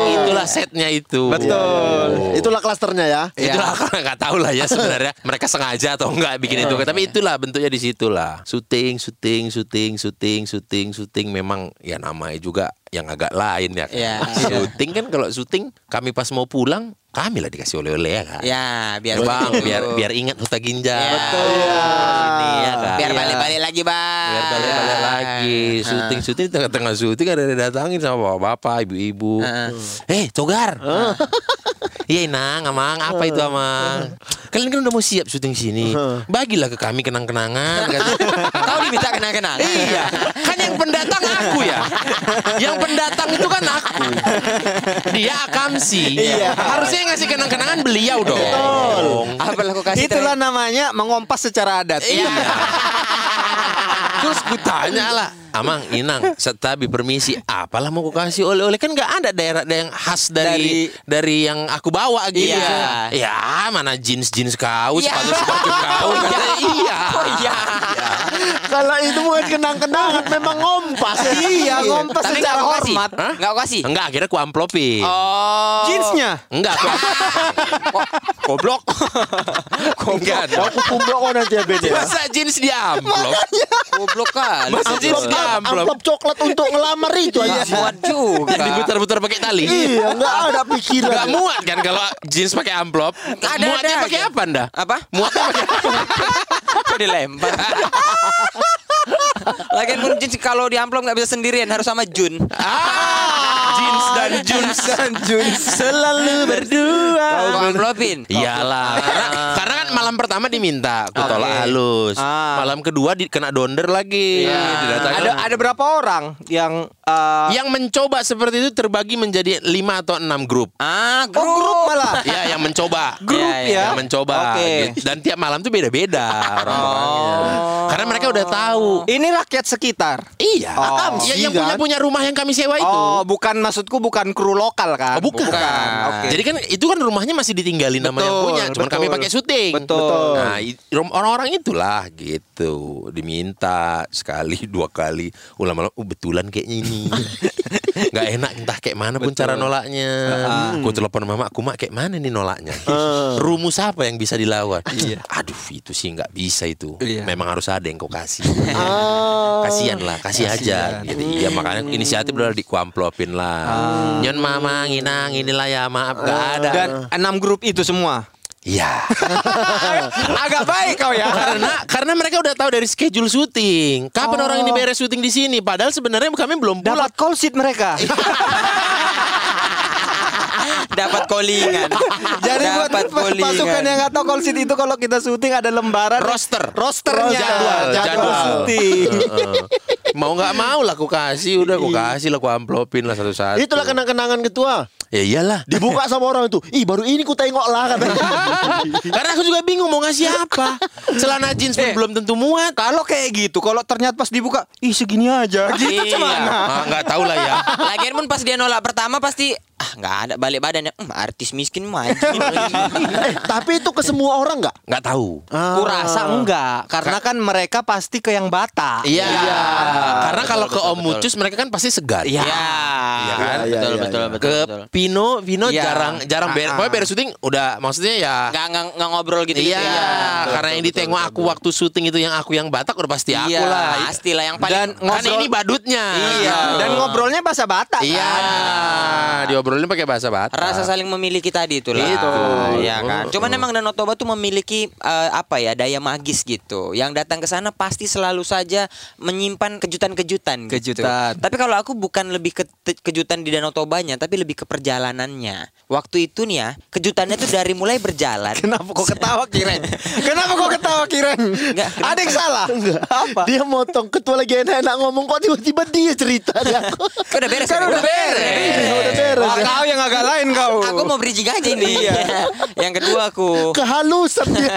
[SPEAKER 5] Itulah setnya itu. Iya,
[SPEAKER 7] Betul.
[SPEAKER 4] Oh. Itulah klasternya ya.
[SPEAKER 6] Iya.
[SPEAKER 5] Itulah nggak tahu lah ya sebenarnya mereka sengaja atau enggak bikin
[SPEAKER 6] Iya.
[SPEAKER 5] itu tapi itulah bentuknya di situlah syuting syuting syuting syuting syuting syuting memang ya namanya juga yang agak lain ya kan?
[SPEAKER 6] Iya.
[SPEAKER 5] syuting kan kalau syuting kami pas mau pulang kami lah dikasih oleh-oleh ya kan
[SPEAKER 6] Ya, biar
[SPEAKER 5] bang
[SPEAKER 6] begitu.
[SPEAKER 5] biar biar ingat huta ginjal
[SPEAKER 6] Ya.
[SPEAKER 5] betul ini ya kan
[SPEAKER 6] biar
[SPEAKER 5] Iya.
[SPEAKER 6] balik-balik lagi, Bang. Ya.
[SPEAKER 5] biar
[SPEAKER 6] Ah,
[SPEAKER 5] balik-balik lagi syuting syuting di tengah-tengah syuting ada yang datangin sama bapak-bapak ibu-ibu eh togar Iya Nang, Amang, apa itu Amang? Kalian kan udah mau siap syuting sini. Bagilah ke kami kenang-kenangan. kata.
[SPEAKER 6] Kau diminta kenal-kenal.
[SPEAKER 5] iya, kan yang pendatang aku ya. Yang pendatang itu kan aku. Dia akamsi. Iya. Harusnya yang ngasih kenang-kenangan beliau dong.
[SPEAKER 6] Apalah kau kasih
[SPEAKER 7] Itulah namanya mengompas secara adat.
[SPEAKER 5] Iya. Terus gue tanya lah Amang, Inang, setabi permisi Apalah mau ku kasih oleh-oleh Kan gak ada daerah daerah yang khas dari Dari, yang aku bawa gitu
[SPEAKER 6] Iya.
[SPEAKER 5] Ya mana jeans-jeans kau
[SPEAKER 6] Iya.
[SPEAKER 5] Sepatu-sepatu kau
[SPEAKER 6] Oh, iya.
[SPEAKER 5] Iya
[SPEAKER 6] Oh iya.
[SPEAKER 4] Kalau itu mau main kenang-kenangan memang ngompas.
[SPEAKER 7] Iya, ngompas
[SPEAKER 6] Tapi
[SPEAKER 7] secara
[SPEAKER 6] nggak aku kasih.
[SPEAKER 7] hormat.
[SPEAKER 6] Hah? Nggak aku kasih.
[SPEAKER 5] Enggak, akhirnya ku amplopin.
[SPEAKER 6] Oh.
[SPEAKER 7] Jeansnya.
[SPEAKER 5] Enggak, aku goblok. Enggak. dong.
[SPEAKER 4] Aku kumblok kok nanti ya Ben ya.
[SPEAKER 5] Masa jeans di amplop?
[SPEAKER 6] Goblok kali.
[SPEAKER 5] Masa jeans
[SPEAKER 4] Amplop,
[SPEAKER 5] di amplop?
[SPEAKER 4] amplop coklat untuk ngelamar
[SPEAKER 5] oh,
[SPEAKER 4] itu
[SPEAKER 5] iya.
[SPEAKER 7] Iya,
[SPEAKER 4] aja.
[SPEAKER 6] Nggak muat juga.
[SPEAKER 5] Yang diputar-putar pakai tali.
[SPEAKER 4] Iya, enggak ada pikiran.
[SPEAKER 5] Enggak muat kan kalau jeans pakai amplop?
[SPEAKER 6] Ada,
[SPEAKER 5] Muatnya
[SPEAKER 6] ada
[SPEAKER 5] pakai
[SPEAKER 6] aja.
[SPEAKER 5] apa, Anda?
[SPEAKER 6] Apa?
[SPEAKER 5] Muatnya pakai
[SPEAKER 6] Kok dilempar? Lagian pun jeans kalau di amplop nggak bisa sendirian harus sama Jun.
[SPEAKER 5] Ah, jeans dan jeans dan jeans selalu berdua. Iya.
[SPEAKER 6] Kau amplopin.
[SPEAKER 5] Iyalah, karena, karena kan malam pertama diminta aku tolak halus,
[SPEAKER 7] Ah. Iya.
[SPEAKER 5] malam kedua di, kena donder lagi. Didatangin.
[SPEAKER 7] Ada ada berapa orang yang eh,
[SPEAKER 5] yang mencoba seperti itu terbagi menjadi lima atau enam grup.
[SPEAKER 6] Ah,
[SPEAKER 7] oh,
[SPEAKER 6] grup.
[SPEAKER 7] grup malah.
[SPEAKER 5] ya, yang mencoba.
[SPEAKER 7] Grup
[SPEAKER 6] Iya, iya.
[SPEAKER 7] ya.
[SPEAKER 5] Yang mencoba.
[SPEAKER 7] Oke.
[SPEAKER 5] gitu. Dan tiap malam tuh beda-beda orang-orangnya. Karena mereka udah tahu.
[SPEAKER 7] Ini rakyat sekitar.
[SPEAKER 5] Iya.
[SPEAKER 7] Oh.
[SPEAKER 5] Ya, yang punya punya rumah yang kami sewa itu.
[SPEAKER 7] Oh, bukan maksudku bukan kru lokal
[SPEAKER 5] Oh,
[SPEAKER 7] kan?
[SPEAKER 5] bukan.
[SPEAKER 7] Oke.
[SPEAKER 5] Jadi kan itu kan rumahnya masih ditinggalin sama yang
[SPEAKER 7] Betul,
[SPEAKER 5] punya, cuman kami
[SPEAKER 7] betul.
[SPEAKER 5] pakai syuting.
[SPEAKER 7] Betul.
[SPEAKER 5] Nah, i- rum- orang-orang itulah gitu diminta sekali dua kali ulang-ulang oh, betulan kayaknya ini. Gak enak entah kayak mana pun cara nolaknya. Aku telepon mama, aku mak kayak mana nih nolaknya? Rumus apa yang bisa dilawan? Aduh, itu sih nggak bisa itu.
[SPEAKER 7] Iya. Ah,
[SPEAKER 5] Memang harus ada yang kau kasih. kasihan lah, kasih aja. Gitu. Iya makanya
[SPEAKER 7] Hmm.
[SPEAKER 5] inisiatif udah dikuamplopin lah. Nyon mama nginang inilah ya maaf nggak ada.
[SPEAKER 7] Ah. Dan enam grup itu semua.
[SPEAKER 5] Iya.
[SPEAKER 7] Agak baik kau ya.
[SPEAKER 5] karena karena mereka udah tahu dari schedule syuting. Kapan orang ini beres syuting di sini? Padahal sebenarnya kami belum pulang.
[SPEAKER 7] Oh. Dapat Iya, call sheet mereka.
[SPEAKER 6] Dapat callingan.
[SPEAKER 7] Jadi buat
[SPEAKER 6] Dapat
[SPEAKER 7] pas-
[SPEAKER 6] callingan.
[SPEAKER 7] pasukan yang nggak tahu call sheet itu kalau kita syuting ada lembaran
[SPEAKER 5] Roster. Oh,
[SPEAKER 7] rosternya
[SPEAKER 5] Jadwal, jadwal.
[SPEAKER 7] syuting.
[SPEAKER 5] Heeh. mau nggak mau lah aku kasih udah aku kasih lah aku amplopin lah satu-satu.
[SPEAKER 4] Itulah
[SPEAKER 7] kan-
[SPEAKER 4] kenang-kenangan ketua.
[SPEAKER 5] Ya iyalah.
[SPEAKER 4] Dibuka sama orang itu. Ih, baru ini ku tengok lah katanya.
[SPEAKER 5] Karena aku juga bingung mau ngasih apa. Celana jeans
[SPEAKER 7] Eh.
[SPEAKER 5] pun belum tentu muat.
[SPEAKER 7] Kalau kayak gitu, kalau ternyata pas dibuka, ih segini aja. Gitu
[SPEAKER 5] Iya.
[SPEAKER 7] cuman.
[SPEAKER 5] Ah, nggak tahu lah ya.
[SPEAKER 6] Lagian pun pas dia nolak pertama pasti ah nggak ada balik badannya. Hmm, artis miskin mah.
[SPEAKER 7] Iya.
[SPEAKER 6] Iya.
[SPEAKER 4] eh, tapi itu ke semua orang nggak?
[SPEAKER 5] Nggak tahu.
[SPEAKER 7] Kurasa enggak, karena kan mereka pasti ke yang Batak.
[SPEAKER 5] Iya. Karena kalau ke Om Mucus mereka kan pasti segan. Iya
[SPEAKER 6] Ya.
[SPEAKER 5] kan?
[SPEAKER 4] Iya,
[SPEAKER 6] betul,
[SPEAKER 4] iya,
[SPEAKER 6] betul,
[SPEAKER 4] iya.
[SPEAKER 6] betul,
[SPEAKER 5] Ke
[SPEAKER 6] betul.
[SPEAKER 5] Pino, Pino
[SPEAKER 6] Iya.
[SPEAKER 5] jarang jarang ber,
[SPEAKER 7] Ah, ah.
[SPEAKER 5] pokoknya beres syuting udah maksudnya ya.
[SPEAKER 6] Nggak nggak- nggak ngobrol gitu.
[SPEAKER 5] Iya, karena yang ditengok aku waktu syuting itu yang aku yang Batak udah pasti aku lah.
[SPEAKER 6] Pastilah yang paling
[SPEAKER 7] Iya, Dan
[SPEAKER 5] Kan
[SPEAKER 7] ngobrol-
[SPEAKER 5] ini badutnya.
[SPEAKER 7] Iya, dan ngobrolnya bahasa Batak. kan?
[SPEAKER 5] Iya, diobrolin pakai bahasa Batak.
[SPEAKER 6] rasa
[SPEAKER 7] Ah.
[SPEAKER 6] saling memiliki tadi itulah.
[SPEAKER 5] Gitu.
[SPEAKER 6] Ya
[SPEAKER 7] Oh.
[SPEAKER 6] kan. Cuman emang Danau Toba tuh memiliki eh, apa ya daya magis gitu. Yang datang ke sana pasti selalu saja menyimpan kejutan-kejutan. gitu.
[SPEAKER 7] Kejutan.
[SPEAKER 6] Tapi kalau aku bukan lebih ke te- kejutan di Danau Tobanya, tapi lebih ke perjalanannya. Waktu itu nih ya, kejutannya tuh dari mulai berjalan.
[SPEAKER 7] Kenapa kok ketawa Kiren? Kenapa kok ketawa Kiren?
[SPEAKER 6] Enggak, kenapa?
[SPEAKER 7] Ada yang salah. Enggak. Apa?
[SPEAKER 4] Dia motong ketua lagi enak-enak ngomong kok tiba-tiba dia cerita di aku.
[SPEAKER 6] Kan udah beres.
[SPEAKER 7] Kan
[SPEAKER 6] kan?
[SPEAKER 7] udah beres. Iya.
[SPEAKER 4] Iya, udah beres,
[SPEAKER 7] Wah,
[SPEAKER 4] ya.
[SPEAKER 7] kau yang agak lain kau.
[SPEAKER 6] Aku mau bridging aja ini. yang kedua aku
[SPEAKER 4] Kehalusan dia.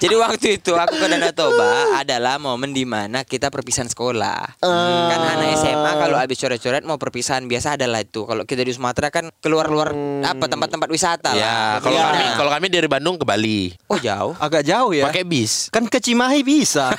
[SPEAKER 6] Jadi waktu itu aku ke Danau Toba adalah momen dimana kita perpisahan sekolah. Kan anak SMA kalau habis coret-coret mau perpisahan biasa adalah itu. Kalau kita di Sumatera kan keluar-luar apa tempat-tempat wisata
[SPEAKER 5] Ya,
[SPEAKER 6] lah.
[SPEAKER 5] kalau
[SPEAKER 6] Iya.
[SPEAKER 5] kami kalau kami dari Bandung ke Bali
[SPEAKER 6] oh jauh.
[SPEAKER 7] agak jauh ya.
[SPEAKER 5] pakai bis.
[SPEAKER 7] Kan ke Cimahi bisa.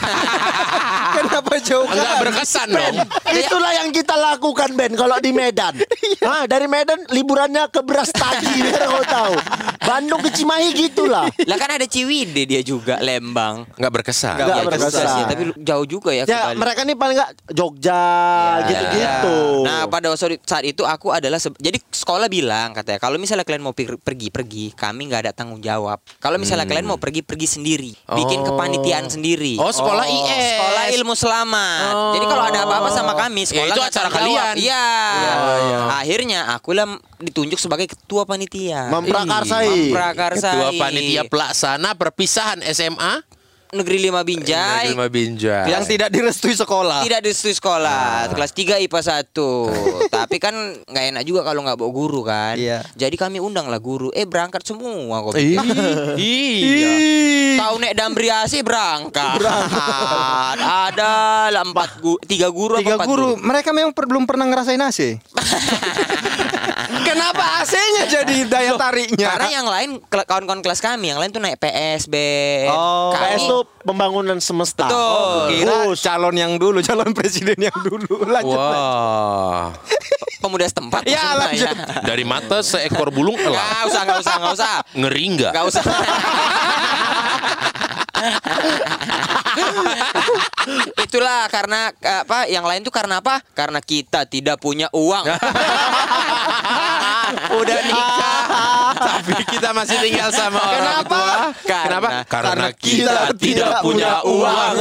[SPEAKER 7] Kenapa jauh?
[SPEAKER 5] Enggak
[SPEAKER 7] kan?
[SPEAKER 5] berkesan dong.
[SPEAKER 4] Itulah yang kita lakukan Ben kalau di Medan.
[SPEAKER 6] Iya.
[SPEAKER 4] Hah, dari Medan liburannya ke Beras Tagi biar kau tahu. Bandung ke Cimahi gitulah.
[SPEAKER 6] Lah kan ada Ciwide dia juga Lembang.
[SPEAKER 5] Enggak berkesan.
[SPEAKER 4] Nggak
[SPEAKER 6] Iya juga
[SPEAKER 4] berkesan.
[SPEAKER 6] sih, tapi lu- jauh juga ya, ke
[SPEAKER 4] Ya
[SPEAKER 6] Bali.
[SPEAKER 4] mereka nih paling nggak Jogja
[SPEAKER 5] Ah,
[SPEAKER 4] gitu-gitu.
[SPEAKER 6] Iya. Nah pada waktu- saat itu aku adalah se- jadi sekolah bilang katanya kalau misalnya kalian mau pir- pergi pergi kami nggak ada tanggung jawab. Kalau misalnya kalian mau pergi pergi sendiri,
[SPEAKER 5] Hmm.
[SPEAKER 6] bikin
[SPEAKER 5] Oh.
[SPEAKER 6] kepanitiaan sendiri.
[SPEAKER 5] Oh, sekolah IS.
[SPEAKER 6] Sekolah ilmu selamat. Jadi kalau ada apa-apa sama kami
[SPEAKER 5] Ya,
[SPEAKER 6] sekolah
[SPEAKER 5] itu
[SPEAKER 6] nggak
[SPEAKER 5] acara
[SPEAKER 6] tanggung jawab.
[SPEAKER 5] kalian.
[SPEAKER 6] Iya. Akhirnya aku lah ditunjuk sebagai ketua panitia. Iya.
[SPEAKER 4] Memprakarsai.
[SPEAKER 6] Memprakarsai.
[SPEAKER 5] Ketua panitia pelaksana perpisahan SMA
[SPEAKER 6] Negeri Lima Binjai.
[SPEAKER 5] Negeri Binjai.
[SPEAKER 7] Yang tidak direstui sekolah.
[SPEAKER 6] tidak di sekolah
[SPEAKER 7] Ah.
[SPEAKER 6] kelas 3 IPA 1 tapi kan nggak enak juga kalau nggak bawa guru kan
[SPEAKER 7] Iya.
[SPEAKER 6] jadi kami undang lah guru eh berangkat semua kok
[SPEAKER 5] Ih, iya.
[SPEAKER 6] tahu nek dambriasi berangkat, ada lah empat gu tiga guru apa
[SPEAKER 7] Tiga
[SPEAKER 6] empat
[SPEAKER 7] guru, mereka memang per- belum pernah ngerasain AC. Kenapa AC-nya jadi daya tariknya?
[SPEAKER 6] Karena yang lain kela- kawan-kawan kelas kami yang lain tuh naik PSB,
[SPEAKER 7] Oh,
[SPEAKER 6] kami
[SPEAKER 4] PS tuh Oh, pembangunan semesta.
[SPEAKER 6] Betul.
[SPEAKER 7] Kira calon yang dulu, calon presiden yang dulu. Lanjut. lanjut.
[SPEAKER 5] Wah.
[SPEAKER 6] Pemuda setempat.
[SPEAKER 7] Ya,
[SPEAKER 6] maksudnya,
[SPEAKER 7] lanjut.
[SPEAKER 6] ya.
[SPEAKER 5] Dari mata seekor bulung
[SPEAKER 6] Nggak
[SPEAKER 5] elang.
[SPEAKER 6] usah, nggak usah, nggak usah.
[SPEAKER 5] Ngeri nggak?
[SPEAKER 6] Nggak usah. Itulah karena apa? Yang lain tuh karena apa? Karena kita tidak punya uang. Udah nikah.
[SPEAKER 5] Tapi kita masih tinggal sama orang
[SPEAKER 6] Kenapa?
[SPEAKER 5] tua.
[SPEAKER 6] Karena-
[SPEAKER 5] Kenapa? Karena kita
[SPEAKER 4] kita
[SPEAKER 5] tidak
[SPEAKER 4] tidak
[SPEAKER 5] punya
[SPEAKER 4] punya
[SPEAKER 5] uang.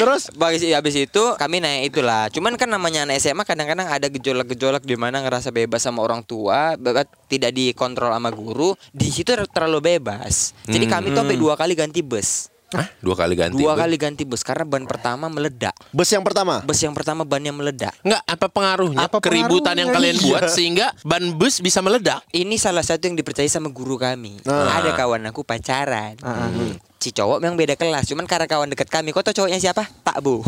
[SPEAKER 4] Terus
[SPEAKER 6] Habis, habis itu kami naik itulah. Cuman kan namanya anak SMA kadang-kadang ada gejolak-gejolak di mana ngerasa bebas sama orang tua, be- tidak dikontrol sama guru. Di situ terlalu bebas. Jadi
[SPEAKER 5] Hmm,
[SPEAKER 6] kami tuh sampai dua kali ganti bus.
[SPEAKER 5] Hah? Dua kali ganti.
[SPEAKER 6] Dua
[SPEAKER 5] Bu.
[SPEAKER 6] kali ganti bus karena ban pertama meledak.
[SPEAKER 4] bus yang pertama.
[SPEAKER 6] Bus yang pertama bannya meledak.
[SPEAKER 5] Enggak, apa Iya. pengaruhnya?
[SPEAKER 7] Apa
[SPEAKER 5] Keributan yang kalian
[SPEAKER 7] pengaruhnya?
[SPEAKER 5] buat sehingga ban bus bisa meledak.
[SPEAKER 6] Ini salah satu yang dipercaya sama guru kami. Ada kawan aku pacaran. Hmm. Si cowok memang beda kelas, cuman karena kawan dekat kami. Kok tau cowoknya siapa? Pak Bu.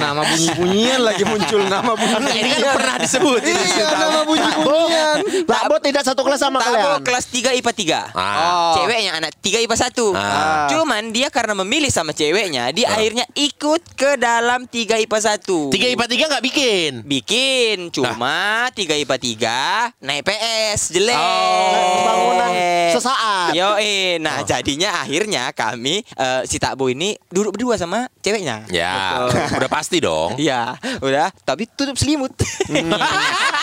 [SPEAKER 7] Nama bunyi-bunyian lagi muncul nama
[SPEAKER 5] Enggak, ini kan
[SPEAKER 7] bunyi-bunyian.
[SPEAKER 5] pernah disebut. Ini
[SPEAKER 7] Iya,
[SPEAKER 5] sudah tahu.
[SPEAKER 7] nama bunyi-bunyian.
[SPEAKER 4] Lah, Bo tidak satu kelas sama
[SPEAKER 6] Tabo
[SPEAKER 4] kalian.
[SPEAKER 6] kelas 3 IPA 3.
[SPEAKER 5] Ah.
[SPEAKER 6] Oh. Ceweknya anak 3 IPA 1.
[SPEAKER 5] Ah.
[SPEAKER 6] Cuman dia karena memilih sama ceweknya, dia akhirnya ikut ke dalam 3 IPA 1.
[SPEAKER 5] Tiga IPA tiga nggak bikin.
[SPEAKER 6] bikin cuma 3 IPA 3 naik PS jelek.
[SPEAKER 5] Oh.
[SPEAKER 4] Pembangunan sesaat.
[SPEAKER 6] Yoi. Nah, jadinya akhirnya kami eh, si Takbo ini duduk berdua sama ceweknya.
[SPEAKER 5] Ya, udah pasti dong.
[SPEAKER 6] Iya, udah, tapi tutup selimut.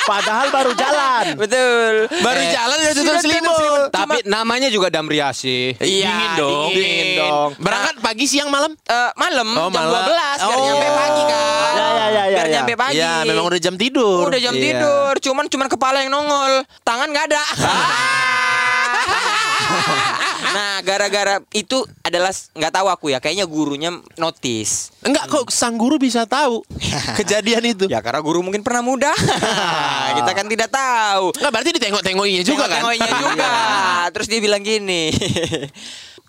[SPEAKER 4] Padahal baru jalan.
[SPEAKER 6] Betul.
[SPEAKER 5] Baru
[SPEAKER 6] Eh,
[SPEAKER 5] jalan udah tutup
[SPEAKER 6] sudah
[SPEAKER 5] selimut.
[SPEAKER 7] Tapi namanya juga Damriasi.
[SPEAKER 5] Iya,
[SPEAKER 6] Iya,
[SPEAKER 5] dingin dong.
[SPEAKER 6] dingin. dong.
[SPEAKER 5] Berangkat pagi, siang, malam.
[SPEAKER 6] Eh, malam
[SPEAKER 5] Oh,
[SPEAKER 6] jam
[SPEAKER 5] malam.
[SPEAKER 6] 12 biar
[SPEAKER 5] Oh.
[SPEAKER 6] nyampe pagi kan.
[SPEAKER 4] Ya, ya, ya, ya,
[SPEAKER 6] biar
[SPEAKER 4] ya.
[SPEAKER 6] nyampe pagi.
[SPEAKER 5] Iya, memang udah jam tidur.
[SPEAKER 6] Udah jam
[SPEAKER 7] Iya.
[SPEAKER 6] tidur, cuman cuman kepala yang nongol, tangan nggak ada. nah, gara-gara itu adalah nggak tahu aku ya, kayaknya gurunya notice.
[SPEAKER 5] Enggak kok sang guru bisa tahu kejadian itu.
[SPEAKER 6] Ya karena guru mungkin pernah muda. Kita kan tidak tahu.
[SPEAKER 5] Enggak berarti ditengok-tengokinya juga kan?
[SPEAKER 7] Iya
[SPEAKER 6] Tengok-tengoknya juga. Terus dia bilang gini.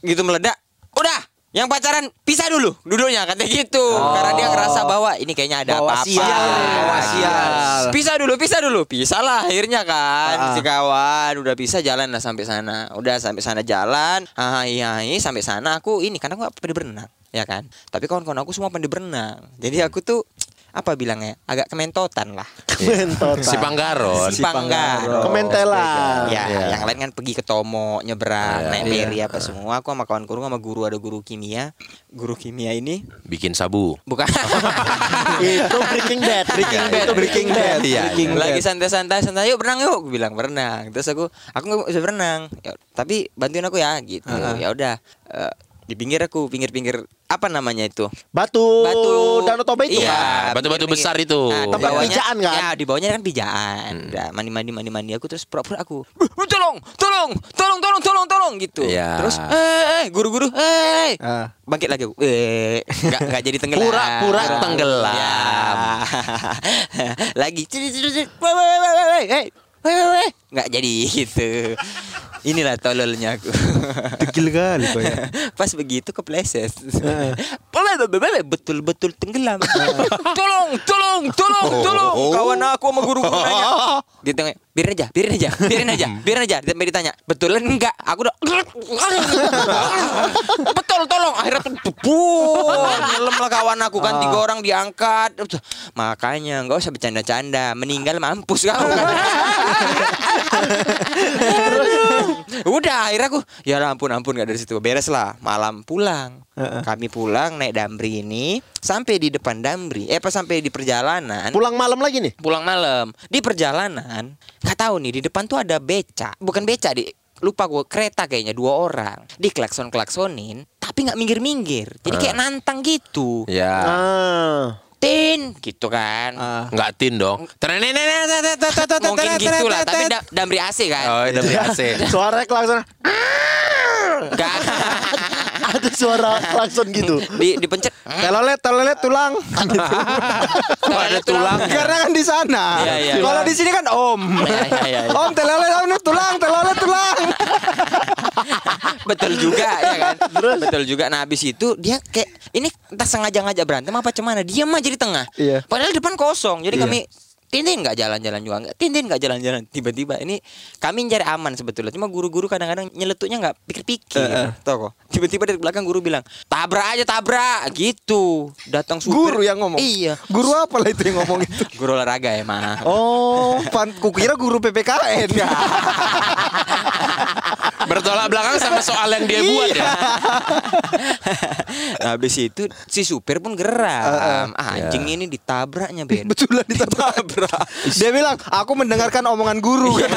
[SPEAKER 6] gitu meledak. Udah, yang pacaran pisah dulu duduknya katanya gitu. Karena dia ngerasa bahwa ini kayaknya ada
[SPEAKER 7] Oh. Bawa
[SPEAKER 6] apa-apa. Iya.
[SPEAKER 7] sial, bawa sial.
[SPEAKER 6] Pisah dulu, pisah dulu. Pisah lah akhirnya
[SPEAKER 7] Ah.
[SPEAKER 6] kan si kawan udah bisa jalan lah sampai sana. Udah sampai sana jalan. Ah iya, iya, sampai sana aku ini karena aku gak pede berenang, ya kan? Tapi kawan-kawan aku semua pede berenang. Jadi aku tuh apa bilangnya agak kementotan lah
[SPEAKER 7] Iya.
[SPEAKER 4] Mentot.
[SPEAKER 5] kan? Si Panggaron.
[SPEAKER 6] si
[SPEAKER 4] kan?
[SPEAKER 6] Panggaron
[SPEAKER 4] Kementelan.
[SPEAKER 7] Iya.
[SPEAKER 6] Ya, yang lain kan pergi ke Tomo,
[SPEAKER 4] Iya,
[SPEAKER 6] nyebrang, naik peri apa semua. Aku sama kawan guru sama guru ada guru kimia. Guru kimia ini
[SPEAKER 5] Bikin sabu.
[SPEAKER 6] bukan
[SPEAKER 4] Itu Breaking Bad. Breaking
[SPEAKER 5] Bad.
[SPEAKER 4] Itu Breaking Bad.
[SPEAKER 5] Iya,
[SPEAKER 7] Breaking Bad.
[SPEAKER 6] lagi santai-santai santai yuk berenang yuk Aku bilang berenang terus aku aku nggak bisa berenang Ya, tapi bantuin aku ya gitu ya udah Eh, di pinggir aku pinggir-pinggir apa namanya itu
[SPEAKER 4] Batu, Danau Toba itu
[SPEAKER 6] Iya,
[SPEAKER 4] kan?
[SPEAKER 5] kan? Batu-batu
[SPEAKER 6] pinggir-pinggir.
[SPEAKER 5] besar itu.
[SPEAKER 6] di
[SPEAKER 4] Tempat
[SPEAKER 6] bawahnya-
[SPEAKER 4] pijaan kan?
[SPEAKER 6] Ya, di bawahnya kan pijaan. Udah, mandi-mandi mandi-mandi aku terus pura-pura aku. "Uh, Tolong, tolong, tolong, tolong, tolong, tolong gitu.
[SPEAKER 5] Iya.
[SPEAKER 6] Terus eh eh guru-guru, eh.
[SPEAKER 7] Ah.
[SPEAKER 6] Bangkit lagi aku. Eh, enggak enggak jadi tenggelam.
[SPEAKER 5] Pura-pura tenggelam.
[SPEAKER 6] Ya. lagi. Ciri, ciri, ciri. Wah, wah, wah, wah, wah, eh. Wah, wah, wah. Nggak jadi gitu. Inilah tololnya aku.
[SPEAKER 7] Degil kali kok ya.
[SPEAKER 6] Pas begitu kepleset. Betul-betul tenggelam. tolong, tolong, tolong, tolong. Kawan aku sama guru guru nanya. Dia tengok, biarin aja, biarin aja, biarin aja, biarin aja. Sampai ditanya, betulan enggak? Aku udah betul, tolong. Akhirnya tuh bubur. Nyelam lah kawan aku kan tiga orang diangkat. Makanya enggak usah bercanda-canda, meninggal mampus kamu. Udah akhirnya aku ya lah, ampun ampun gak dari situ beres lah malam pulang kami pulang naik damri ini sampai di depan damri eh pas sampai di perjalanan
[SPEAKER 4] Pulang malam lagi nih.
[SPEAKER 6] pulang malam di perjalanan nggak tahu nih di depan tuh ada beca bukan beca di lupa gue kereta kayaknya dua orang di klakson klaksonin tapi nggak minggir minggir jadi kayak nantang gitu
[SPEAKER 7] Iya.
[SPEAKER 5] Ya.
[SPEAKER 4] Ah.
[SPEAKER 6] tin gitu kan
[SPEAKER 5] Enggak tin dong.
[SPEAKER 6] mungkin gitu lah tapi da- damri AC kan
[SPEAKER 5] Oh, udah beli AC.
[SPEAKER 7] Iya.
[SPEAKER 4] Suara klakson.
[SPEAKER 6] Nggak.
[SPEAKER 4] Ada suara klakson gitu.
[SPEAKER 6] di dipencet
[SPEAKER 7] Telolet, telolet tulang.
[SPEAKER 6] Nggak ada tulang
[SPEAKER 7] Karena kan di sana.
[SPEAKER 6] Iya, iya.
[SPEAKER 7] Kalau di sini kan om.
[SPEAKER 6] Iya, iya, iya, iya.
[SPEAKER 7] Om telolet, om ini tulang, telolet tulang.
[SPEAKER 6] betul juga ya kan betul juga nah habis itu dia kayak ini entah sengaja ngajak berantem apa cuman dia mah jadi tengah
[SPEAKER 4] Iya.
[SPEAKER 6] padahal depan kosong jadi kami Tintin nggak jalan-jalan juga nggak Tintin nggak jalan-jalan tiba-tiba ini kami cari aman sebetulnya cuma guru-guru kadang-kadang nyeletuknya nggak pikir-pikir
[SPEAKER 7] Eh,
[SPEAKER 6] tau kok tiba-tiba dari belakang guru bilang tabrak aja tabrak gitu datang supir
[SPEAKER 7] Guru yang ngomong.
[SPEAKER 6] iya
[SPEAKER 7] Guru apa lah itu yang ngomong itu?
[SPEAKER 6] guru olahraga emang
[SPEAKER 7] Oh, pan, kukira guru PPKN.
[SPEAKER 6] Iya.
[SPEAKER 5] Bertolak belakang sama soal yang dia buat ya.
[SPEAKER 6] nah, Iya. habis itu si supir pun geram. Ah, anjing ini ditabraknya Ben.
[SPEAKER 7] Iya. Betulan ditabrak. Dia bilang, aku mendengarkan omongan guru.
[SPEAKER 6] Iya.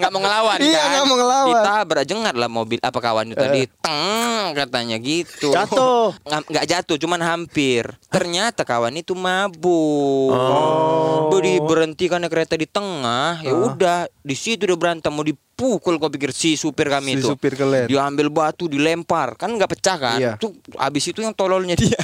[SPEAKER 6] Nggak mau ngelawan
[SPEAKER 7] Iya,
[SPEAKER 6] kan?
[SPEAKER 7] nggak mau ngelawan. Eh.
[SPEAKER 6] Ditabrak jengat lah mobil apa kawan itu tadi teng katanya gitu.
[SPEAKER 4] Jatuh.
[SPEAKER 6] Nggak nggak jatuh, cuman hampir. Ternyata kawan itu mabuk. Oh. Beri berhenti karena kereta di tengah. Ya
[SPEAKER 7] Ah.
[SPEAKER 6] udah, di situ udah berantem mau dipukul kau pikir si supir kami
[SPEAKER 7] Si
[SPEAKER 6] itu.
[SPEAKER 7] supir kelet.
[SPEAKER 6] Dia ambil batu dilempar, kan nggak pecah kan?
[SPEAKER 7] Iya.
[SPEAKER 6] Tuh abis itu yang tololnya dia.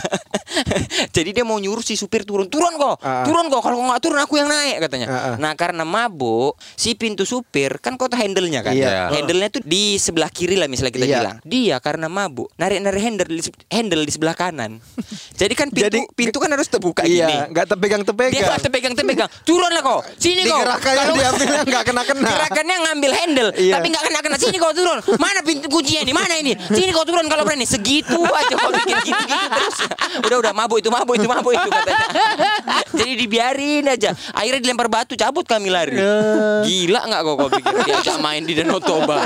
[SPEAKER 6] Jadi dia mau nyuruh si supir turun, turun kok,
[SPEAKER 7] Ah, ah.
[SPEAKER 6] turun kok. Kalau kau nggak turun aku yang naik katanya.
[SPEAKER 7] Ah, ah.
[SPEAKER 6] Nah karena mabuk si pintu supir kan kau tahu handle-nya kan?
[SPEAKER 7] Iya.
[SPEAKER 6] Handle-nya tuh di sebelah kiri lah misalnya kita
[SPEAKER 7] Iya.
[SPEAKER 6] bilang. Dia karena mabuk narik-narik handle di, se- handle di sebelah kanan. Jadi kan pintu
[SPEAKER 7] Jadi-
[SPEAKER 6] pintu kan harus terbuka gini.
[SPEAKER 7] Iya, nggak
[SPEAKER 6] Dia
[SPEAKER 7] terpegang-tepegang.
[SPEAKER 6] nggak terpegang-tepegang. Turunlah kok. Sini kok.
[SPEAKER 7] Digerakkan yang
[SPEAKER 6] Kalau-
[SPEAKER 7] diambilnya nggak kena-kena.
[SPEAKER 6] Gerakannya ngambil handle
[SPEAKER 7] Iya.
[SPEAKER 6] Tapi nggak kena-kena Sini kau turun Mana pintu kuncinya ini Mana ini Sini kau turun kalau berani Segitu aja kau bikin gitu-gitu terus Udah-udah mabuk itu mabuk itu mabuk itu katanya Jadi dibiarin aja Akhirnya dilempar batu Cabut kami lari
[SPEAKER 7] Ya.
[SPEAKER 6] Gila nggak kau kau pikir Diajak main di Danau Toba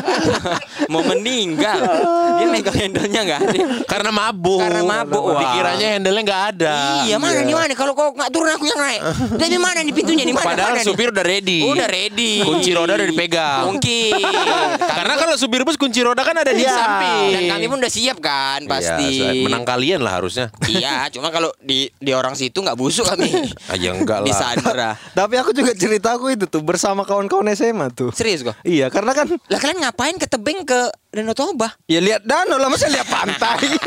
[SPEAKER 6] Mau meninggal Dia megang handle-nya nggak ada
[SPEAKER 5] Karena mabuk.
[SPEAKER 6] Karena mabuk, wah.
[SPEAKER 5] Dikiranya handle-nya nggak ada.
[SPEAKER 6] Iya mana nih mana Kalau kau nggak turun aku yang naik Tapi mana nih pintunya nih mana
[SPEAKER 5] Padahal
[SPEAKER 6] mana nih?
[SPEAKER 5] supir udah ready.
[SPEAKER 6] Udah ready
[SPEAKER 5] Kunci roda udah dipegang. Kan.
[SPEAKER 6] Mungkin
[SPEAKER 5] Karena kalau supir bus kunci roda kan ada di samping.
[SPEAKER 6] Dan kami pun udah siap kan pasti.
[SPEAKER 5] Iya, menang kalian lah harusnya.
[SPEAKER 6] Iya, cuma kalau di di orang situ nggak busuk kami.
[SPEAKER 5] Ah, ya enggak lah.
[SPEAKER 6] Di Sandra.
[SPEAKER 7] Tapi aku juga cerita aku itu tuh bersama kawan-kawan SMA tuh.
[SPEAKER 6] Serius kok.
[SPEAKER 7] Iya, karena kan
[SPEAKER 6] Lah kalian ngapain ke tebing ke Danau Toba?
[SPEAKER 7] ya lihat danau lah masa lihat pantai.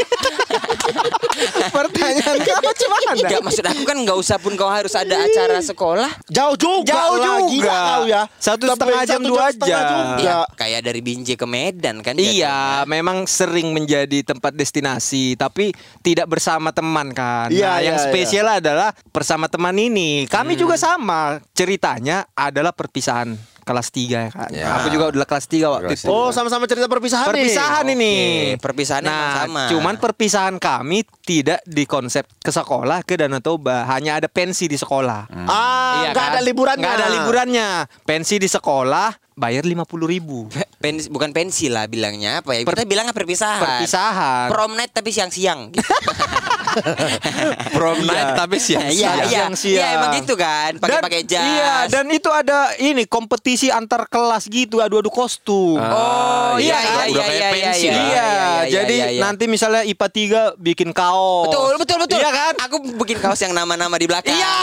[SPEAKER 7] Pertanyaan kamu cuma ada.
[SPEAKER 6] Enggak maksud aku kan nggak usah pun kau harus ada acara sekolah.
[SPEAKER 4] Jauh juga
[SPEAKER 7] Jauh
[SPEAKER 4] lah,
[SPEAKER 7] juga.
[SPEAKER 4] gila kau ya.
[SPEAKER 7] Satu
[SPEAKER 4] Lebih
[SPEAKER 7] setengah jam,
[SPEAKER 4] satu
[SPEAKER 7] dua
[SPEAKER 4] setengah
[SPEAKER 7] jam.
[SPEAKER 4] juga.
[SPEAKER 6] Iya,
[SPEAKER 5] Ya.
[SPEAKER 6] kayak dari Binjai ke Medan kan.
[SPEAKER 7] Iya, memang sering menjadi tempat destinasi, tapi tidak bersama teman kan.
[SPEAKER 4] Iya,
[SPEAKER 7] Nah, yang
[SPEAKER 4] iya,
[SPEAKER 7] spesial adalah bersama teman ini. Kami juga sama, ceritanya adalah perpisahan kelas 3 ya kan. Aku juga udah kelas 3 waktu itu.
[SPEAKER 4] Oh, sama-sama cerita perpisahan nih.
[SPEAKER 7] Perpisahan ini.
[SPEAKER 6] Oke, perpisahannya
[SPEAKER 7] nah,
[SPEAKER 6] sama.
[SPEAKER 7] Cuman perpisahan kami tidak di konsep ke sekolah ke Danau Toba, hanya ada pensi di sekolah.
[SPEAKER 4] Ah,
[SPEAKER 7] Iya
[SPEAKER 4] nggak
[SPEAKER 7] kan?
[SPEAKER 4] ada liburannya.
[SPEAKER 7] Nggak ada liburannya. Pensi di sekolah bayar 50.000 ribu.
[SPEAKER 6] Pe- pen- bukan pensi lah bilangnya apa ya? Kita bilang perpisahan.
[SPEAKER 7] Perpisahan.
[SPEAKER 6] Prom night tapi siang-siang. gitu.
[SPEAKER 5] Prom night tapi siang.
[SPEAKER 6] Iya, iya,
[SPEAKER 7] Siang-siang.
[SPEAKER 6] iya emang gitu kan.
[SPEAKER 7] Dan-
[SPEAKER 6] Pakai-pakai jas.
[SPEAKER 7] Iya, dan itu ada ini kompetisi antar kelas gitu, adu-adu kostum.
[SPEAKER 6] Oh, iya,
[SPEAKER 7] kan?
[SPEAKER 6] iya,
[SPEAKER 5] Udah
[SPEAKER 6] iya,
[SPEAKER 5] kayak
[SPEAKER 6] iya,
[SPEAKER 5] pensi
[SPEAKER 6] iya,
[SPEAKER 7] Iya,
[SPEAKER 5] lah.
[SPEAKER 6] iya,
[SPEAKER 7] jadi
[SPEAKER 6] iya, iya.
[SPEAKER 7] nanti misalnya IPA 3 bikin kaos.
[SPEAKER 6] Betul, betul, betul.
[SPEAKER 7] Iya kan?
[SPEAKER 6] Oh. Aku bikin kaos yang nama-nama di belakang.
[SPEAKER 7] Iya,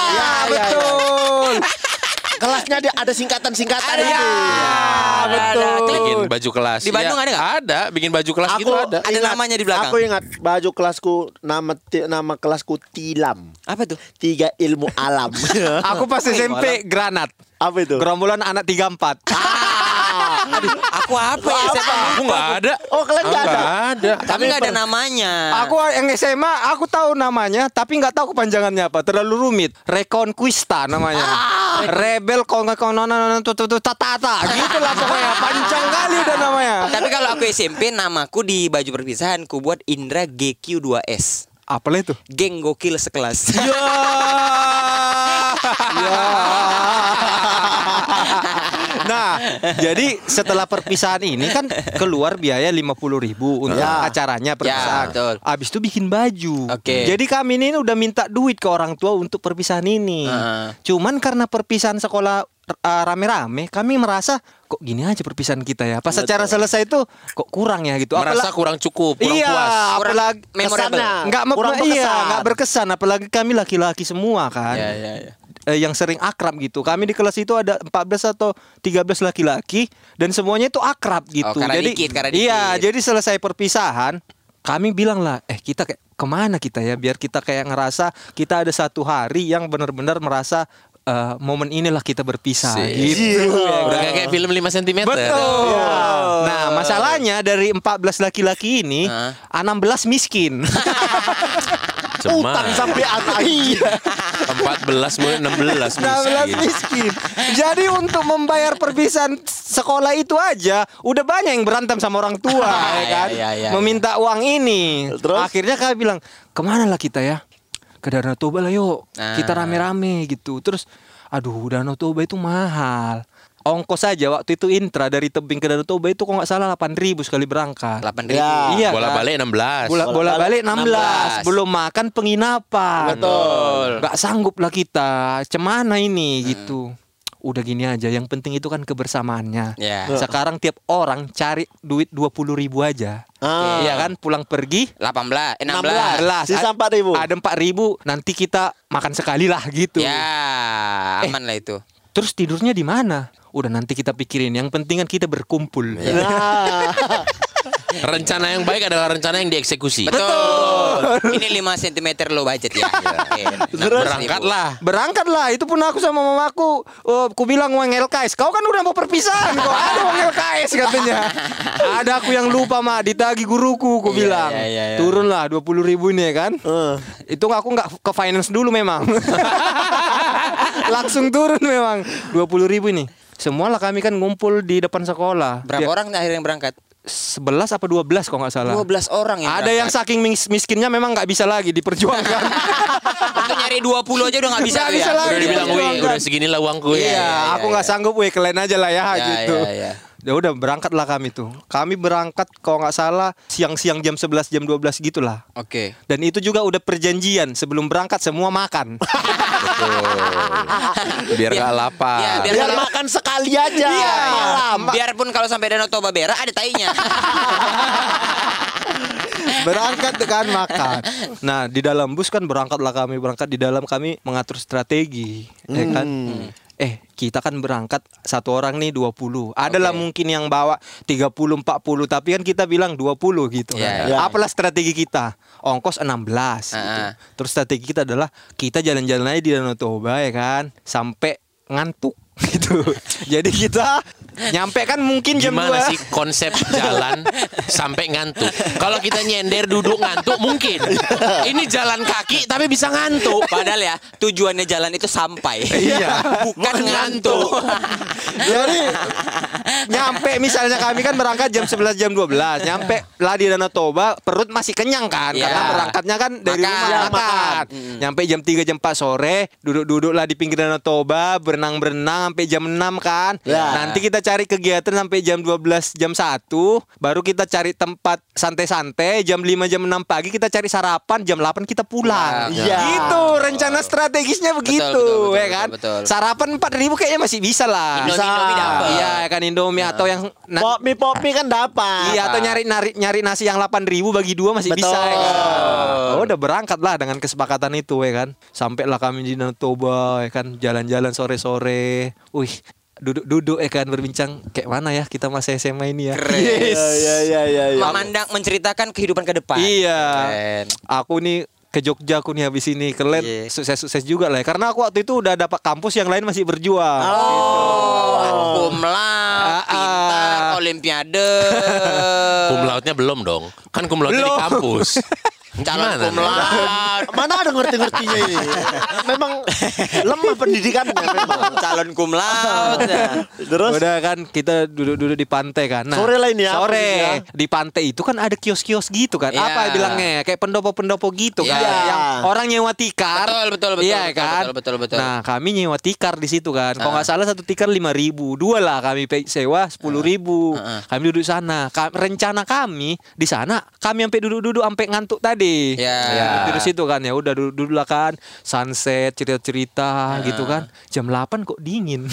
[SPEAKER 6] betul.
[SPEAKER 7] betul.
[SPEAKER 4] Kelasnya ada, ada singkatan-singkatan
[SPEAKER 6] Ada. Iya,
[SPEAKER 4] gitu.
[SPEAKER 6] betul.
[SPEAKER 5] Bikin baju kelas.
[SPEAKER 6] Di Bandung ada nggak?
[SPEAKER 5] Ada, bikin baju kelas
[SPEAKER 4] Aku
[SPEAKER 5] gitu ada.
[SPEAKER 6] ada namanya di belakang.
[SPEAKER 4] Aku ingat baju kelasku nama ti- nama kelasku Tilam.
[SPEAKER 6] Apa tuh?
[SPEAKER 4] Tiga ilmu alam.
[SPEAKER 7] Aku pas SMP granat.
[SPEAKER 4] Apa itu?
[SPEAKER 7] Gerombolan anak 34.
[SPEAKER 6] Ah, Aduh, aku apa ya? Siapa?
[SPEAKER 5] Aku nggak ada.
[SPEAKER 4] Oh, kalian nggak ada?
[SPEAKER 5] Nggak ada.
[SPEAKER 6] Tapi nggak ada namanya.
[SPEAKER 7] Aku yang SMA, aku tahu namanya, tapi nggak tahu kepanjangannya apa. Terlalu rumit. Reconquista namanya. Ah. Rebel konon tata gitu lah pokoknya. Panjang kali udah namanya.
[SPEAKER 6] Tapi kalau aku SMP namaku di baju perpisahan ku buat Indra GQ2S.
[SPEAKER 7] Apalah itu?
[SPEAKER 6] Geng gokil sekelas.
[SPEAKER 7] Ya. Ya. Nah, jadi setelah perpisahan ini kan keluar biaya 50.000 untuk
[SPEAKER 4] Ya.
[SPEAKER 7] acaranya perpisahan.
[SPEAKER 6] betul.
[SPEAKER 7] Abis itu bikin baju.
[SPEAKER 6] Oke.
[SPEAKER 7] Jadi kami ini udah minta duit ke orang tua untuk perpisahan ini.
[SPEAKER 6] Heeh.
[SPEAKER 7] Cuman karena perpisahan sekolah eh, rame-rame, kami merasa kok gini aja perpisahan kita ya. Pas acara selesai itu kok kurang ya gitu.
[SPEAKER 5] Merasa
[SPEAKER 7] Apala-
[SPEAKER 5] kurang cukup, kurang
[SPEAKER 7] iya,
[SPEAKER 5] puas.
[SPEAKER 6] Kurang
[SPEAKER 7] apalagi
[SPEAKER 6] memorable.
[SPEAKER 4] Kesana.
[SPEAKER 7] nggak me-
[SPEAKER 4] Kurang
[SPEAKER 7] iya,
[SPEAKER 4] berkesan.
[SPEAKER 7] nggak berkesan apalagi kami laki-laki semua kan.
[SPEAKER 6] Ya, ya, ya.
[SPEAKER 7] Eh, yang sering akrab gitu. Kami di kelas itu ada 14 atau 13 laki-laki dan semuanya itu akrab gitu.
[SPEAKER 6] Oh, karena
[SPEAKER 7] jadi
[SPEAKER 6] dikit, karena dikit.
[SPEAKER 7] Iya, jadi selesai perpisahan kami bilang lah, eh kita kayak kemana kita ya biar kita kayak ngerasa kita ada satu hari yang benar-benar merasa eh, momen inilah kita berpisah
[SPEAKER 5] Sih.
[SPEAKER 7] gitu.
[SPEAKER 5] Udah kayak kayak film 5 cm.
[SPEAKER 7] Betul. Nah, masalahnya dari 14 laki-laki ini,
[SPEAKER 6] Hah?
[SPEAKER 7] 16 miskin.
[SPEAKER 5] Cemang.
[SPEAKER 4] Utang sampai atas. Iya.
[SPEAKER 5] 14 mulai 16
[SPEAKER 7] 16
[SPEAKER 5] miskin.
[SPEAKER 7] miskin. Jadi untuk membayar perpisahan sekolah itu aja udah banyak yang berantem sama orang tua ya kan.
[SPEAKER 6] Iya, iya, iya.
[SPEAKER 7] Meminta uang ini.
[SPEAKER 4] Terus?
[SPEAKER 7] Akhirnya kami bilang, "Kemana lah kita ya?" Ke Danau Toba lah yuk. Kita rame-rame gitu. Terus aduh Danau Toba itu mahal. Ongkos saja waktu itu intra dari tebing ke Danau Toba itu kok nggak salah 8.000 sekali berangkat.
[SPEAKER 6] Delapan
[SPEAKER 4] Ya.
[SPEAKER 6] ribu.
[SPEAKER 7] Iya.
[SPEAKER 5] Bola
[SPEAKER 7] kan?
[SPEAKER 5] balik 16.
[SPEAKER 7] Bola, bola balik
[SPEAKER 6] 16.
[SPEAKER 7] 16. Belum makan penginapan.
[SPEAKER 5] Betul.
[SPEAKER 7] Gak sanggup lah kita. Cemana ini gitu. Udah gini aja. Yang penting itu kan kebersamaannya.
[SPEAKER 6] Ya.
[SPEAKER 7] Sekarang tiap orang cari duit 20 ribu aja.
[SPEAKER 4] Ah.
[SPEAKER 7] Iya kan pulang pergi.
[SPEAKER 6] Delapan belas. eh, Enam
[SPEAKER 4] 16.
[SPEAKER 6] belas.
[SPEAKER 4] Sisa 4.000.
[SPEAKER 7] Ada 4 ribu. Nanti kita makan sekali lah gitu.
[SPEAKER 6] Ya aman lah itu.
[SPEAKER 7] Terus tidurnya di mana? Udah nanti kita pikirin. Yang penting kan kita berkumpul.
[SPEAKER 5] Rencana yang baik adalah rencana yang
[SPEAKER 7] Eh,
[SPEAKER 5] dieksekusi.
[SPEAKER 6] Betul. Ini 5 cm low budget ya.
[SPEAKER 5] Berangkatlah.
[SPEAKER 7] Berangkatlah itu pun aku sama mamaku eh, ku bilang uang LKS kau kan udah mau perpisahan kok ada uang LKS katanya ada aku yang lupa mak ditagi guruku ku
[SPEAKER 6] Iya,
[SPEAKER 7] bilang
[SPEAKER 6] iya, iya, iya.
[SPEAKER 7] turunlah dua puluh ribu ini ya kan itu aku nggak ke finance dulu memang langsung turun memang dua puluh ribu ini semualah kami kan ngumpul di depan sekolah
[SPEAKER 6] Berapa orang akhirnya yang berangkat?
[SPEAKER 7] sebelas apa dua belas kalau nggak salah
[SPEAKER 6] 12 orang yang
[SPEAKER 7] ada yang saking mis- miskinnya memang nggak bisa lagi diperjuangkan
[SPEAKER 6] Untuk nyari 20 aja udah gak bisa
[SPEAKER 7] Nggak
[SPEAKER 6] tuh
[SPEAKER 7] bisa
[SPEAKER 6] ya.
[SPEAKER 7] lagi.
[SPEAKER 5] Udah dibilang,
[SPEAKER 7] Iya,
[SPEAKER 5] "Wih,
[SPEAKER 7] iya,
[SPEAKER 5] udah
[SPEAKER 7] iya.
[SPEAKER 5] seginilah uangku."
[SPEAKER 7] Iya,
[SPEAKER 5] ya."
[SPEAKER 7] aku nggak sanggup weh kelain aja lah ya,
[SPEAKER 6] Iya,
[SPEAKER 7] gitu.
[SPEAKER 6] iya, iya.
[SPEAKER 7] Ya udah berangkatlah kami tuh. Kami berangkat kalau nggak salah siang-siang jam 11 jam 12 gitulah.
[SPEAKER 6] Oke.
[SPEAKER 7] Dan itu juga udah perjanjian sebelum berangkat semua makan.
[SPEAKER 5] Biar gak lapar.
[SPEAKER 6] Iya, biar,
[SPEAKER 4] Biar
[SPEAKER 6] kalau- Iya.
[SPEAKER 4] makan sekali aja.
[SPEAKER 6] Malam. Biarpun kalau sampai Danau Toba berak ada tainya.
[SPEAKER 7] berangkat kan makan. Nah, di dalam bus kan berangkatlah kami berangkat di dalam kami mengatur strategi, ya kan? Eh, kita kan berangkat satu orang nih 20. Adalah mungkin yang bawa 30 40, tapi kan kita bilang 20 gitu kan.
[SPEAKER 4] Iya.
[SPEAKER 7] Apalah strategi kita? Ongkos 16 gitu.
[SPEAKER 6] Ah.
[SPEAKER 7] Terus strategi kita adalah kita jalan-jalan aja di Danau Toba ya kan sampai ngantuk gitu. Jadi kita nyampe kan mungkin jam
[SPEAKER 5] Gimana
[SPEAKER 7] 2.
[SPEAKER 5] sih konsep jalan sampai ngantuk? Kalau kita nyender duduk ngantuk mungkin. Ini jalan kaki tapi bisa ngantuk.
[SPEAKER 6] Padahal ya tujuannya jalan itu sampai.
[SPEAKER 7] Iya.
[SPEAKER 6] Bukan ngantuk.
[SPEAKER 7] Jadi nyampe misalnya kami kan berangkat jam 11 jam 12 nyampe lah di Danau Toba perut masih kenyang kan
[SPEAKER 6] Iya.
[SPEAKER 7] karena berangkatnya kan dari
[SPEAKER 6] Makan.
[SPEAKER 7] rumah
[SPEAKER 6] Iya,
[SPEAKER 7] makan. Mm. Nyampe jam 3 jam 4 sore duduk-duduk lah di pinggir Danau Toba berenang-berenang sampai jam 6 kan.
[SPEAKER 6] Iya.
[SPEAKER 7] Nanti kita cari kegiatan sampai jam 12 jam 1 baru kita cari tempat santai-santai jam 5 jam 6 pagi kita cari sarapan jam 8 kita pulang.
[SPEAKER 6] Pulang.
[SPEAKER 4] Iya.
[SPEAKER 7] Gitu rencana strategisnya begitu
[SPEAKER 6] betul, betul,
[SPEAKER 7] ya kan.
[SPEAKER 6] betul, betul.
[SPEAKER 7] Sarapan 4000 kayaknya masih bisa lah.
[SPEAKER 6] Indomie- Indomie dapat.
[SPEAKER 7] Iya kan Indomie atau yang na-
[SPEAKER 4] Popi popi kan dapat.
[SPEAKER 7] Nah. Iya atau nyari nyari nyari nasi yang 8000 bagi dua masih bisa ya kan? Oh, udah berangkat lah dengan kesepakatan itu ya kan. Sampailah kami di Danau Toba ya kan jalan-jalan sore-sore. Wih, duduk-duduk ya kan berbincang kayak mana ya kita masih SMA ini ya. Yes.
[SPEAKER 4] Iya iya iya. iya.
[SPEAKER 6] Memandang menceritakan kehidupan ke depan.
[SPEAKER 7] Iya.
[SPEAKER 6] Keren.
[SPEAKER 7] Aku nih ke Jogja aku nih habis ini kalian
[SPEAKER 6] Iya.
[SPEAKER 7] sukses-sukses juga lah ya. karena aku waktu itu udah dapat kampus yang lain masih berjuang.
[SPEAKER 6] Oh, kumlaut,
[SPEAKER 7] Ah, ah.
[SPEAKER 6] pintar, olimpiade.
[SPEAKER 5] Kum lautnya belum dong. Kan kum lautnya di
[SPEAKER 7] Belum.
[SPEAKER 5] kampus.
[SPEAKER 6] Calon
[SPEAKER 5] Gimana? nih?
[SPEAKER 6] kumlaut.
[SPEAKER 4] Mana ada ngerti-ngertinya ini? Memang lemah pendidikannya memang.
[SPEAKER 6] Calon kumlaut.
[SPEAKER 4] ya. Terus
[SPEAKER 7] udah kan kita duduk-duduk di pantai kan. Nah,
[SPEAKER 4] Sore lah ini ya,
[SPEAKER 7] Sore
[SPEAKER 4] posisinya.
[SPEAKER 7] di pantai itu kan ada kios-kios gitu kan.
[SPEAKER 6] Iya.
[SPEAKER 7] Apa bilangnya? Kayak pendopo-pendopo gitu kan.
[SPEAKER 6] Iya.
[SPEAKER 7] Yang orang nyewa tikar.
[SPEAKER 6] Betul, betul, betul,
[SPEAKER 7] Iya
[SPEAKER 6] betul,
[SPEAKER 7] kan?
[SPEAKER 6] betul, betul, Ah. betul.
[SPEAKER 7] Nah, kami nyewa tikar di situ kan. Kalau nggak salah satu tikar 5.000. Dua lah kami pe- sewa
[SPEAKER 6] Ah.
[SPEAKER 7] 10.000. Kami duduk sana. Ka- rencana kami di sana kami sampai duduk-duduk sampai ngantuk tadi.
[SPEAKER 6] Iya.
[SPEAKER 7] Duduk di situ kan ya udah duduk-duduk lah kan.
[SPEAKER 6] Ah.
[SPEAKER 7] Sunset cerita-cerita gitu kan. Jam 8 kok dingin.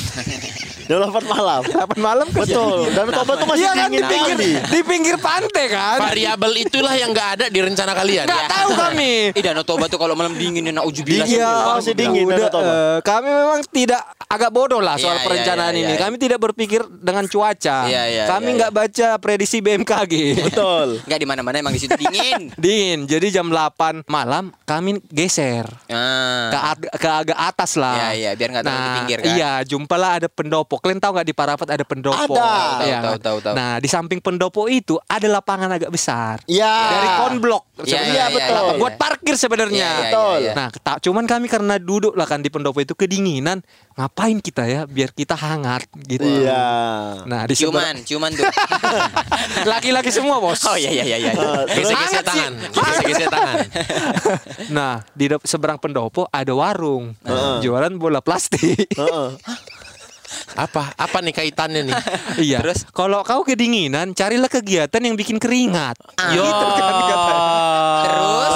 [SPEAKER 4] jam 8 malam.
[SPEAKER 7] 8 malam kan
[SPEAKER 4] Betul. Dan Toba tuh masih
[SPEAKER 7] Iya kan di
[SPEAKER 4] dingin
[SPEAKER 7] pinggir
[SPEAKER 4] kali.
[SPEAKER 7] di pinggir pantai kan.
[SPEAKER 5] Variabel itulah yang nggak ada di rencana kalian.
[SPEAKER 6] ya.
[SPEAKER 7] Nggak tahu kami.
[SPEAKER 6] Ih, Danau Toba tuh kalau malam dingin ya nauzubillah.
[SPEAKER 4] Dingin.
[SPEAKER 7] Iya,
[SPEAKER 4] Masih dingin,
[SPEAKER 7] udah,
[SPEAKER 4] Danau Toba.
[SPEAKER 7] eh, kami memang tidak agak bodoh lah
[SPEAKER 6] Iya,
[SPEAKER 7] soal
[SPEAKER 6] iya,
[SPEAKER 7] perencanaan
[SPEAKER 6] iya,
[SPEAKER 7] ini.
[SPEAKER 6] iya.
[SPEAKER 7] Kami tidak berpikir dengan cuaca.
[SPEAKER 6] Iya, iya,
[SPEAKER 7] kami
[SPEAKER 6] iya,
[SPEAKER 7] nggak baca prediksi BMKG.
[SPEAKER 4] Betul.
[SPEAKER 6] Enggak di mana-mana emang di situ dingin.
[SPEAKER 7] Dingin, Jadi jam 8 malam kami geser ke,
[SPEAKER 6] Ah.
[SPEAKER 7] ag- ke agak atas lah.
[SPEAKER 6] Iya, iya, biar nggak terlalu di pinggir, kan?
[SPEAKER 7] Iya, jumpalah ada pendopo. Kalian tahu nggak di Parapat ada pendopo?
[SPEAKER 4] Ada.
[SPEAKER 6] Tahu,
[SPEAKER 7] Iya.
[SPEAKER 6] tahu, tahu, tahu.
[SPEAKER 7] Nah, di samping pendopo itu ada lapangan agak besar.
[SPEAKER 4] Ya.
[SPEAKER 7] Dari konblok.
[SPEAKER 6] Iya,
[SPEAKER 7] sebenarnya.
[SPEAKER 4] iya, betul.
[SPEAKER 7] Lapangan Buat parkir sebenarnya.
[SPEAKER 6] Iya, iya, iya,
[SPEAKER 4] Betul.
[SPEAKER 6] iya.
[SPEAKER 7] Nah, keta- cuman kami karena duduk lah kan di pendopo itu kedinginan, ngapain kita ya biar kita hangat gitu.
[SPEAKER 4] Iya.
[SPEAKER 7] Nah, di
[SPEAKER 6] Ciuman,
[SPEAKER 7] sebelah-
[SPEAKER 6] ciuman tuh.
[SPEAKER 7] laki-laki semua, Bos.
[SPEAKER 6] Oh iya iya iya iya.
[SPEAKER 5] Gesek-gesek tangan. Gesek-gesek tangan.
[SPEAKER 7] Nah, di dep- seberang pendopo ada warung jualan bola plastik.
[SPEAKER 5] Apa? Apa nih kaitannya nih?
[SPEAKER 7] iya. Terus kalau kau kedinginan, carilah kegiatan yang bikin keringat. Gitu kan katanya.
[SPEAKER 6] Oh. Terus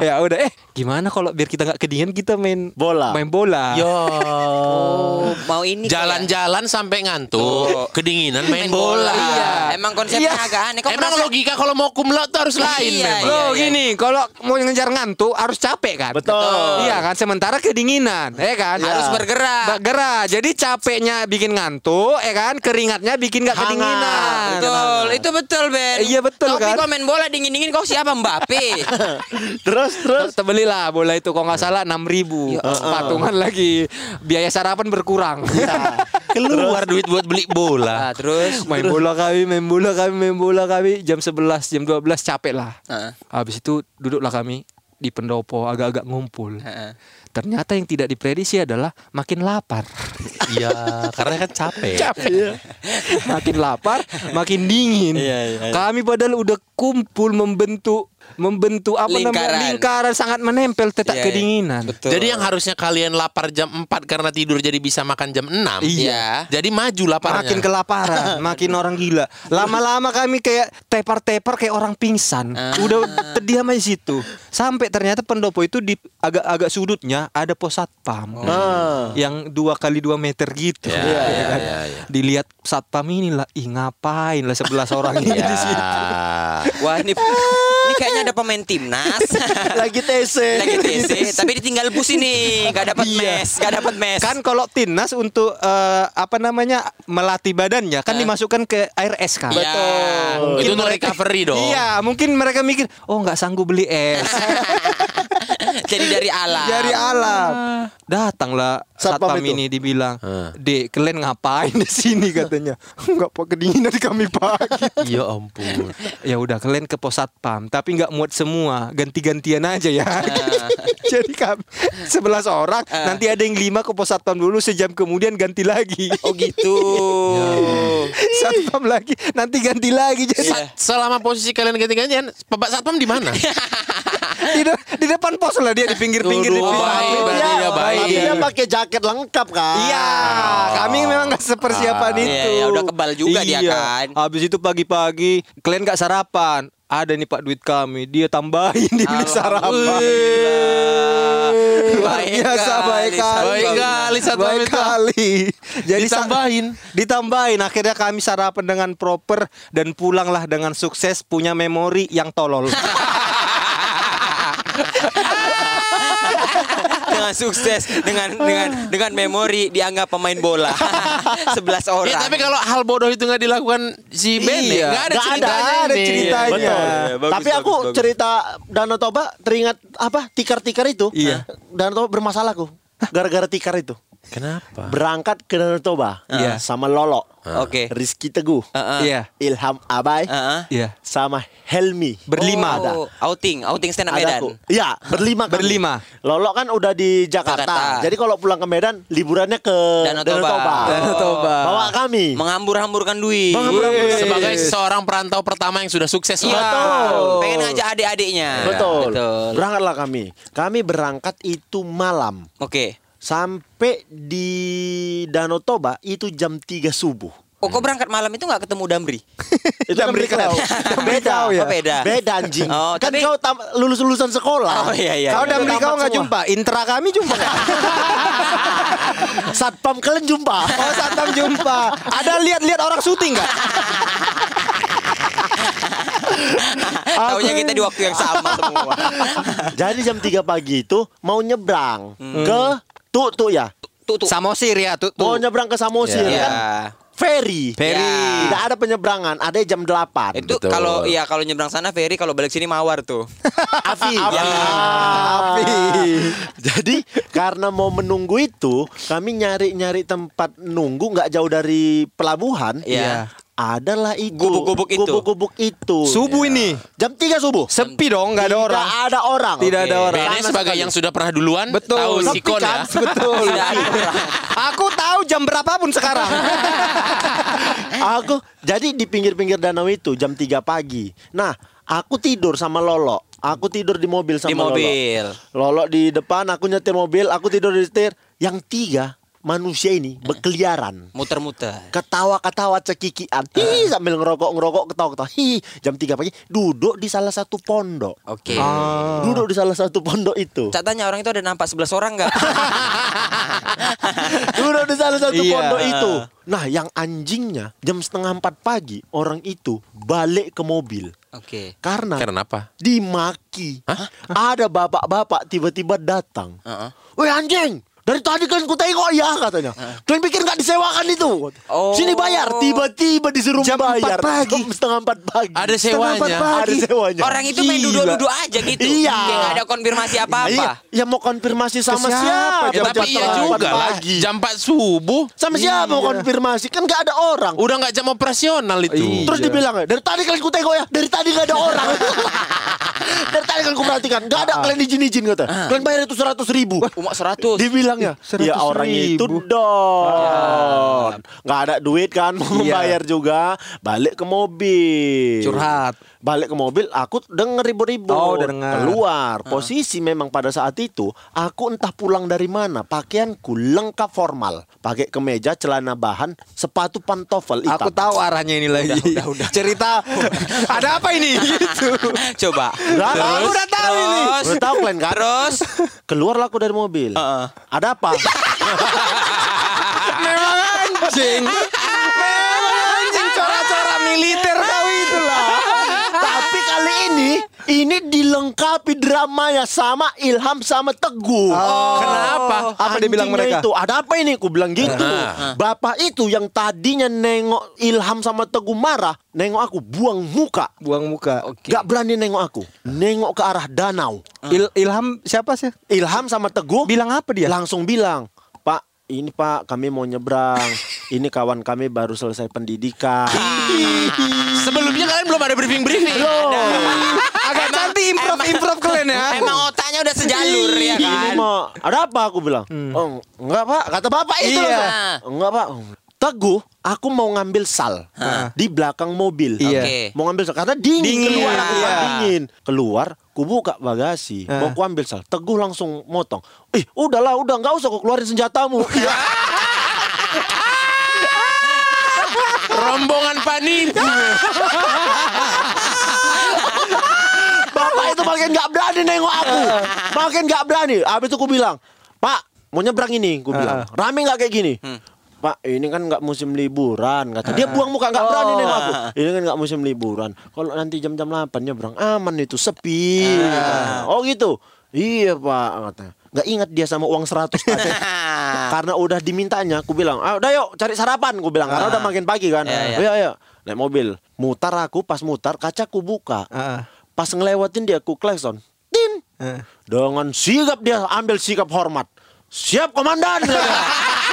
[SPEAKER 7] Ya udah eh gimana kalau biar kita nggak kedinginan kita main
[SPEAKER 4] Bola.
[SPEAKER 7] Main bola.
[SPEAKER 5] Yo.
[SPEAKER 6] oh, mau ini kok ya?
[SPEAKER 5] Jalan-jalan sampai ngantuk, kedinginan main, bola.
[SPEAKER 6] Iya. Emang konsepnya
[SPEAKER 7] Iya.
[SPEAKER 6] agak aneh. Kok
[SPEAKER 5] Emang
[SPEAKER 6] merasa-
[SPEAKER 5] logika kalau mau kumlaut tuh harus lain
[SPEAKER 6] Iya,
[SPEAKER 5] memang.
[SPEAKER 7] Loh
[SPEAKER 6] iya.
[SPEAKER 7] gini, kalau mau ngejar ngantuk harus capek kan?
[SPEAKER 4] Betul.
[SPEAKER 7] Iya kan, sementara kedinginan, ya kan?
[SPEAKER 6] Iya. Harus bergerak.
[SPEAKER 7] Bergerak. Jadi capeknya bikin ngantuk, ya kan? Keringatnya bikin nggak kedinginan.
[SPEAKER 6] Betul, itu betul Ben.
[SPEAKER 7] Iya, betul,
[SPEAKER 6] Tapi
[SPEAKER 7] kan?
[SPEAKER 6] kok main bola dingin-dingin kok siapa Mbappe?
[SPEAKER 4] Terus terus.
[SPEAKER 7] Terus Belilah bola itu kalau nggak salah enam ribu
[SPEAKER 6] Ya
[SPEAKER 7] patungan lagi biaya sarapan berkurang
[SPEAKER 6] Iya.
[SPEAKER 4] Nah.
[SPEAKER 5] Keluar duit buat beli bola.
[SPEAKER 6] Ah, terus
[SPEAKER 7] main bola kami main bola kami main bola kami jam 11 jam 12 capek lah
[SPEAKER 6] Heeh.
[SPEAKER 7] habis itu duduklah kami di pendopo agak-agak ngumpul
[SPEAKER 6] Heeh.
[SPEAKER 7] ternyata yang tidak diprediksi adalah makin lapar
[SPEAKER 5] Iya, karena kan capek.
[SPEAKER 7] makin lapar makin dingin
[SPEAKER 6] Iya,
[SPEAKER 7] kami padahal udah kumpul membentuk membentuk apa
[SPEAKER 6] Lingkaran.
[SPEAKER 7] namanya lingkaran sangat menempel tetap
[SPEAKER 6] Iya, iya.
[SPEAKER 7] kedinginan
[SPEAKER 6] Betul.
[SPEAKER 5] Jadi yang harusnya kalian lapar jam 4 karena tidur jadi bisa makan jam 6.
[SPEAKER 6] Iya.
[SPEAKER 5] Jadi maju laparnya.
[SPEAKER 7] Makin kelaparan, makin orang gila. Lama-lama kami kayak tepar-tepar kayak orang pingsan.
[SPEAKER 5] Ah.
[SPEAKER 7] Udah terdiam aja situ. Sampai ternyata pendopo itu di agak-agak sudutnya ada
[SPEAKER 5] Oh.
[SPEAKER 7] pos satpam.
[SPEAKER 5] Ah.
[SPEAKER 7] Yang dua kali dua meter gitu.
[SPEAKER 5] Iya, iya,
[SPEAKER 7] kan?
[SPEAKER 5] iya,
[SPEAKER 7] Dilihat satpam ini lah, ih ngapain lah sebelas orang ini
[SPEAKER 5] Ya.
[SPEAKER 7] di situ.
[SPEAKER 6] wah ini ini kayaknya ada pemain timnas.
[SPEAKER 4] Lagi TC.
[SPEAKER 6] Lagi TC, tapi ditinggal bus ini, gak dapat mes, gak dapat mes. Iya.
[SPEAKER 7] Kan kalau timnas untuk eh, apa namanya melatih badannya kan dimasukkan ke air es kan.
[SPEAKER 5] Ah. Iya. Itu untuk recovery dong.
[SPEAKER 7] Iya, mungkin mereka mikir, oh nggak sanggup beli es.
[SPEAKER 6] jadi dari alam.
[SPEAKER 7] Dari alam. Datanglah
[SPEAKER 4] Satpam
[SPEAKER 7] satpam,
[SPEAKER 4] itu.
[SPEAKER 7] ini dibilang, "Dek, kalian ngapain di sini?" katanya. Enggak pak kedinginan kami pagi.
[SPEAKER 5] Ya ampun.
[SPEAKER 7] ya udah kalian ke pos satpam, tapi nggak muat semua, ganti-gantian aja ya. Jadi kami 11 orang, nanti ada yang lima ke pos satpam dulu sejam kemudian ganti lagi.
[SPEAKER 6] Oh gitu.
[SPEAKER 7] satpam lagi, nanti ganti lagi. Jadi
[SPEAKER 5] Sa- Selama posisi kalian ganti-gantian, Bapak Satpam di mana?
[SPEAKER 7] di, de- di depan pos lah dia di pinggir-pinggir di
[SPEAKER 5] Aduh,
[SPEAKER 7] pinggir.
[SPEAKER 5] baik, berarti
[SPEAKER 4] Iya,
[SPEAKER 5] dia baik.
[SPEAKER 4] Tapi dia pakai jaket lengkap kan.
[SPEAKER 7] Iya, kami memang gak
[SPEAKER 6] Oh.
[SPEAKER 7] sepersiapan
[SPEAKER 6] Ah.
[SPEAKER 7] itu.
[SPEAKER 6] Iya, iya, udah kebal juga dia kan.
[SPEAKER 7] Habis itu pagi-pagi kalian gak sarapan. Ada nih Pak duit kami, dia tambahin dibeli sarapan. Luar
[SPEAKER 6] Baik
[SPEAKER 7] biasa
[SPEAKER 6] kali,
[SPEAKER 7] baik kali.
[SPEAKER 6] Baik
[SPEAKER 5] kali, satu
[SPEAKER 7] Baik
[SPEAKER 5] menit.
[SPEAKER 7] kali. Jadi sa-
[SPEAKER 5] Ditambahin.
[SPEAKER 7] ditambahin akhirnya kami sarapan dengan proper dan pulanglah dengan sukses punya memori yang tolol.
[SPEAKER 6] dengan sukses dengan dengan dengan memori dianggap pemain bola 11 orang.
[SPEAKER 5] Ya, tapi kalau hal bodoh itu nggak dilakukan si Bene,
[SPEAKER 7] Iya.
[SPEAKER 5] nggak ada
[SPEAKER 4] Nggak ada,
[SPEAKER 5] ceritanya
[SPEAKER 7] ada
[SPEAKER 5] ini.
[SPEAKER 7] ceritanya.
[SPEAKER 4] Betul.
[SPEAKER 7] Iya, bagus,
[SPEAKER 4] Tapi aku cerita Danau Toba teringat apa tikar-tikar itu.
[SPEAKER 7] Iya.
[SPEAKER 4] Danau Toba bermasalah aku. Gara-gara tikar itu.
[SPEAKER 5] Kenapa?
[SPEAKER 4] Berangkat ke Danau Toba
[SPEAKER 7] Iya.
[SPEAKER 4] sama Lolo.
[SPEAKER 6] Oke.
[SPEAKER 4] Rizky Teguh.
[SPEAKER 6] Heeh.
[SPEAKER 7] Iya.
[SPEAKER 4] Ilham Abai.
[SPEAKER 6] Heeh.
[SPEAKER 7] Iya.
[SPEAKER 4] Sama Helmi.
[SPEAKER 7] Berlima.
[SPEAKER 4] ada.
[SPEAKER 6] Oh, outing, outing stand up
[SPEAKER 4] Ada
[SPEAKER 6] Medan.
[SPEAKER 4] aku. Iya, berlima kami.
[SPEAKER 7] Berlima.
[SPEAKER 4] Lolo kan udah di Jakarta.
[SPEAKER 6] Jakarta.
[SPEAKER 4] Jadi kalau pulang ke Medan liburannya ke
[SPEAKER 6] Danau Toba.
[SPEAKER 7] Danau Toba.
[SPEAKER 4] Bawa kami.
[SPEAKER 6] Menghambur-hamburkan duit.
[SPEAKER 5] Sebagai seorang perantau pertama yang sudah sukses.
[SPEAKER 6] Iya.
[SPEAKER 4] Betul.
[SPEAKER 6] Pengen ngajak adik-adiknya.
[SPEAKER 4] Betul.
[SPEAKER 6] Betul.
[SPEAKER 4] Berangkatlah kami. Kami berangkat itu malam.
[SPEAKER 6] Oke.
[SPEAKER 4] Sampai di Danau Toba itu jam 3 subuh.
[SPEAKER 6] Oh, kok berangkat malam itu nggak ketemu Damri?
[SPEAKER 4] Itu kan berikau. Beda.
[SPEAKER 6] Kau ya? Oh, beda.
[SPEAKER 4] Beda anjing.
[SPEAKER 6] Oh,
[SPEAKER 4] kan
[SPEAKER 6] tapi-
[SPEAKER 4] kau tam- lulus-lulusan sekolah.
[SPEAKER 6] Oh, iya, iya,
[SPEAKER 7] Kau
[SPEAKER 6] Iya,
[SPEAKER 7] dan kau nggak jumpa, intra kami jumpa.
[SPEAKER 4] Satpam kalian jumpa.
[SPEAKER 7] Oh Satam jumpa. Ada lihat-lihat orang syuting nggak?
[SPEAKER 6] Taunya kita di waktu yang sama semua.
[SPEAKER 4] Jadi jam 3 pagi itu mau nyebrang ke Tuk Tuk ya.
[SPEAKER 6] Tuh tuh.
[SPEAKER 7] Samosir ya tuh.
[SPEAKER 4] Mau nyebrang ke Samosir
[SPEAKER 6] Iya.
[SPEAKER 4] kan. ferry.
[SPEAKER 6] Ferry.
[SPEAKER 4] Tidak ada penyeberangan, ada jam 8.
[SPEAKER 6] Itu
[SPEAKER 5] Betul.
[SPEAKER 6] kalau ya kalau nyebrang sana ferry, kalau balik sini mawar tuh.
[SPEAKER 4] Afi. Afi. Jadi karena mau menunggu itu, kami nyari-nyari tempat nunggu nggak jauh dari pelabuhan.
[SPEAKER 6] Iya.
[SPEAKER 4] Adalah itu.
[SPEAKER 6] Gubuk-gubuk itu.
[SPEAKER 4] Gubuk-gubuk itu. Iya.
[SPEAKER 7] Subuh ini
[SPEAKER 4] Jam 3 subuh.
[SPEAKER 7] sepi dong, nggak ada orang.
[SPEAKER 4] Tidak ada orang.
[SPEAKER 7] Tidak ada orang.
[SPEAKER 5] BNS sebagai yang sudah pernah duluan
[SPEAKER 7] Betul.
[SPEAKER 5] tahu
[SPEAKER 7] Tapi
[SPEAKER 5] sikon
[SPEAKER 6] kan-
[SPEAKER 5] ya.
[SPEAKER 7] Betul.
[SPEAKER 6] Tidak ada orang.
[SPEAKER 7] Aku tahu jam berapapun sekarang.
[SPEAKER 4] aku jadi di pinggir-pinggir danau itu jam 3 pagi. Nah, aku tidur sama Lolo. Aku tidur di mobil sama
[SPEAKER 6] Di
[SPEAKER 4] Lolo.
[SPEAKER 6] mobil.
[SPEAKER 4] Lolo di depan, aku nyetir mobil, aku tidur di setir. Yang tiga manusia ini berkeliaran.
[SPEAKER 6] Muter-muter.
[SPEAKER 4] Ketawa-ketawa cekikian Hi, Sambil ngerokok-ngerokok ketawa-ketawa Hi, Jam 3 pagi Duduk di salah satu pondok
[SPEAKER 6] Oke.
[SPEAKER 4] Duduk di salah satu pondok itu
[SPEAKER 6] Cak tanya orang itu ada nampak 11 orang nggak?
[SPEAKER 4] Duduk di salah satu
[SPEAKER 7] Iya.
[SPEAKER 4] pondok itu Nah yang anjingnya Jam setengah 4 pagi Orang itu balik ke mobil
[SPEAKER 6] Oke.
[SPEAKER 4] Karena
[SPEAKER 5] Karena apa?
[SPEAKER 4] dimaki. Ada bapak-bapak tiba-tiba datang.
[SPEAKER 6] Heeh.
[SPEAKER 4] Weh anjing, dari tadi kan ku tengok ya katanya. Kalian pikir nggak disewakan itu?
[SPEAKER 6] Oh.
[SPEAKER 4] Sini bayar, tiba-tiba disuruh
[SPEAKER 7] Jam
[SPEAKER 4] bayar.
[SPEAKER 7] empat pagi.
[SPEAKER 4] Jam setengah empat pagi.
[SPEAKER 5] Ada
[SPEAKER 4] Setengah empat
[SPEAKER 5] sewanya.
[SPEAKER 4] Ada sewanya.
[SPEAKER 6] Orang itu main
[SPEAKER 7] Gila.
[SPEAKER 6] duduk-duduk aja gitu.
[SPEAKER 4] Ya, Iya.
[SPEAKER 6] Kayak nggak ada konfirmasi
[SPEAKER 4] Iya,
[SPEAKER 6] apa-apa.
[SPEAKER 4] ya mau konfirmasi sama
[SPEAKER 7] siapa?
[SPEAKER 4] siapa?
[SPEAKER 5] Ya,
[SPEAKER 4] Jam-
[SPEAKER 5] tapi
[SPEAKER 4] jam
[SPEAKER 5] iya
[SPEAKER 4] setengah
[SPEAKER 5] juga
[SPEAKER 4] empat
[SPEAKER 5] lah.
[SPEAKER 4] pagi.
[SPEAKER 5] Jam 4 subuh
[SPEAKER 4] Sama siapa mau konfirmasi? Kan nggak ada orang.
[SPEAKER 5] udah nggak jam operasional
[SPEAKER 7] Iya.
[SPEAKER 5] itu.
[SPEAKER 4] Terus dibilang dari tadi kalian ku tengok ya, dari tadi nggak ada orang. dari tadi kan ku perhatikan, nggak
[SPEAKER 7] Ah.
[SPEAKER 4] ada kalian izin-izin kata. Kalian bayar itu seratus ribu.
[SPEAKER 6] Umat 100.
[SPEAKER 4] Dibilangnya ya orang itu
[SPEAKER 7] Iya.
[SPEAKER 4] don nggak ada duit kan mau bayar juga balik ke mobil
[SPEAKER 7] Curhat.
[SPEAKER 4] balik ke mobil aku denger ribu-ribu
[SPEAKER 7] Oh, denger. Ah.
[SPEAKER 4] keluar posisi memang pada saat itu aku entah pulang dari mana pakaianku lengkap formal pakai kemeja celana bahan sepatu pantofel hitam
[SPEAKER 7] Aku tahu arahnya ini lagi.
[SPEAKER 6] Udah, udah, udah.
[SPEAKER 7] Cerita. ada apa ini? Gitu.
[SPEAKER 6] Coba.
[SPEAKER 4] Udah, aku
[SPEAKER 7] udah tahu ini.
[SPEAKER 6] Terus.
[SPEAKER 4] Udah tahu kalian kan?
[SPEAKER 6] Terus.
[SPEAKER 4] keluarlah aku dari mobil
[SPEAKER 6] Heeh.
[SPEAKER 4] ada apa
[SPEAKER 7] Memang anjing. Memang anjing cora-cora militer kau itulah.
[SPEAKER 4] Tapi kali ini ini dilengkapi dramanya sama Ilham sama Teguh.
[SPEAKER 5] Kenapa?
[SPEAKER 7] Oh. Apa dia bilang
[SPEAKER 4] Anjingnya
[SPEAKER 7] mereka?
[SPEAKER 4] Itu ada apa ini? Ku bilang gitu. Bapak itu yang tadinya nengok Ilham sama Teguh marah, nengok aku buang muka.
[SPEAKER 7] Buang muka.
[SPEAKER 4] Gak berani nengok aku. Nengok ke arah danau.
[SPEAKER 7] Il- Ilham siapa sih?
[SPEAKER 4] Ilham sama Teguh
[SPEAKER 7] Bilang apa dia?
[SPEAKER 4] langsung bilang, "Pak, ini Pak, kami mau nyebrang. ini kawan kami baru selesai pendidikan."
[SPEAKER 5] Sebelumnya kalian belum ada briefing-briefing.
[SPEAKER 7] Agak cantik improv improv kalian ya.
[SPEAKER 6] Emang otaknya udah sejalur ya
[SPEAKER 4] Ini
[SPEAKER 6] kan?
[SPEAKER 4] mau ada apa aku bilang? Oh, enggak Pak, kata Bapak itu
[SPEAKER 7] Iya.
[SPEAKER 4] langsung. Enggak Pak. Teguh, aku mau ngambil sal di belakang mobil.
[SPEAKER 7] Iya.
[SPEAKER 6] Oke.
[SPEAKER 4] Mau ngambil sal karena dingin,
[SPEAKER 7] Dingin,
[SPEAKER 4] keluar aku
[SPEAKER 7] iya.
[SPEAKER 4] dingin. Keluar, ku buka bagasi, mau ku ambil sal. Teguh langsung motong. Ih, udahlah, udah enggak usah kau keluarin senjatamu.
[SPEAKER 5] Rombongan panipu.
[SPEAKER 4] Bapak itu makin nggak berani nengok aku, makin nggak berani. Abis itu aku bilang, Pak mau nyebrang ini, aku bilang, rame nggak kayak gini. Pak ini kan nggak musim liburan kata dia buang muka nggak berani nengok aku ini kan nggak musim liburan kalau nanti jam-jam 8 nyebrang aman itu sepi oh gitu iya pak kata nggak ingat dia sama uang 100 tadi
[SPEAKER 6] Nah.
[SPEAKER 4] karena udah dimintanya aku bilang ah, udah yuk cari sarapan aku bilang karena udah makin pagi kan
[SPEAKER 6] Ah. Iya, iya.
[SPEAKER 4] ayo ayo naik mobil mutar aku pas mutar kaca aku buka
[SPEAKER 7] Ah.
[SPEAKER 4] Pas ngelewatin dia ku klakson. Tin.
[SPEAKER 6] Ah.
[SPEAKER 7] Eh.
[SPEAKER 4] Dengan sikap dia ambil sikap hormat. Siap komandan. katanya.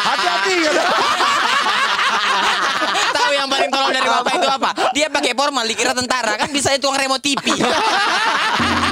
[SPEAKER 4] Hati-hati. katanya.
[SPEAKER 6] Tahu yang paling tolong dari bapak itu apa? Dia pakai formal dikira tentara kan bisa itu tukang remote TV.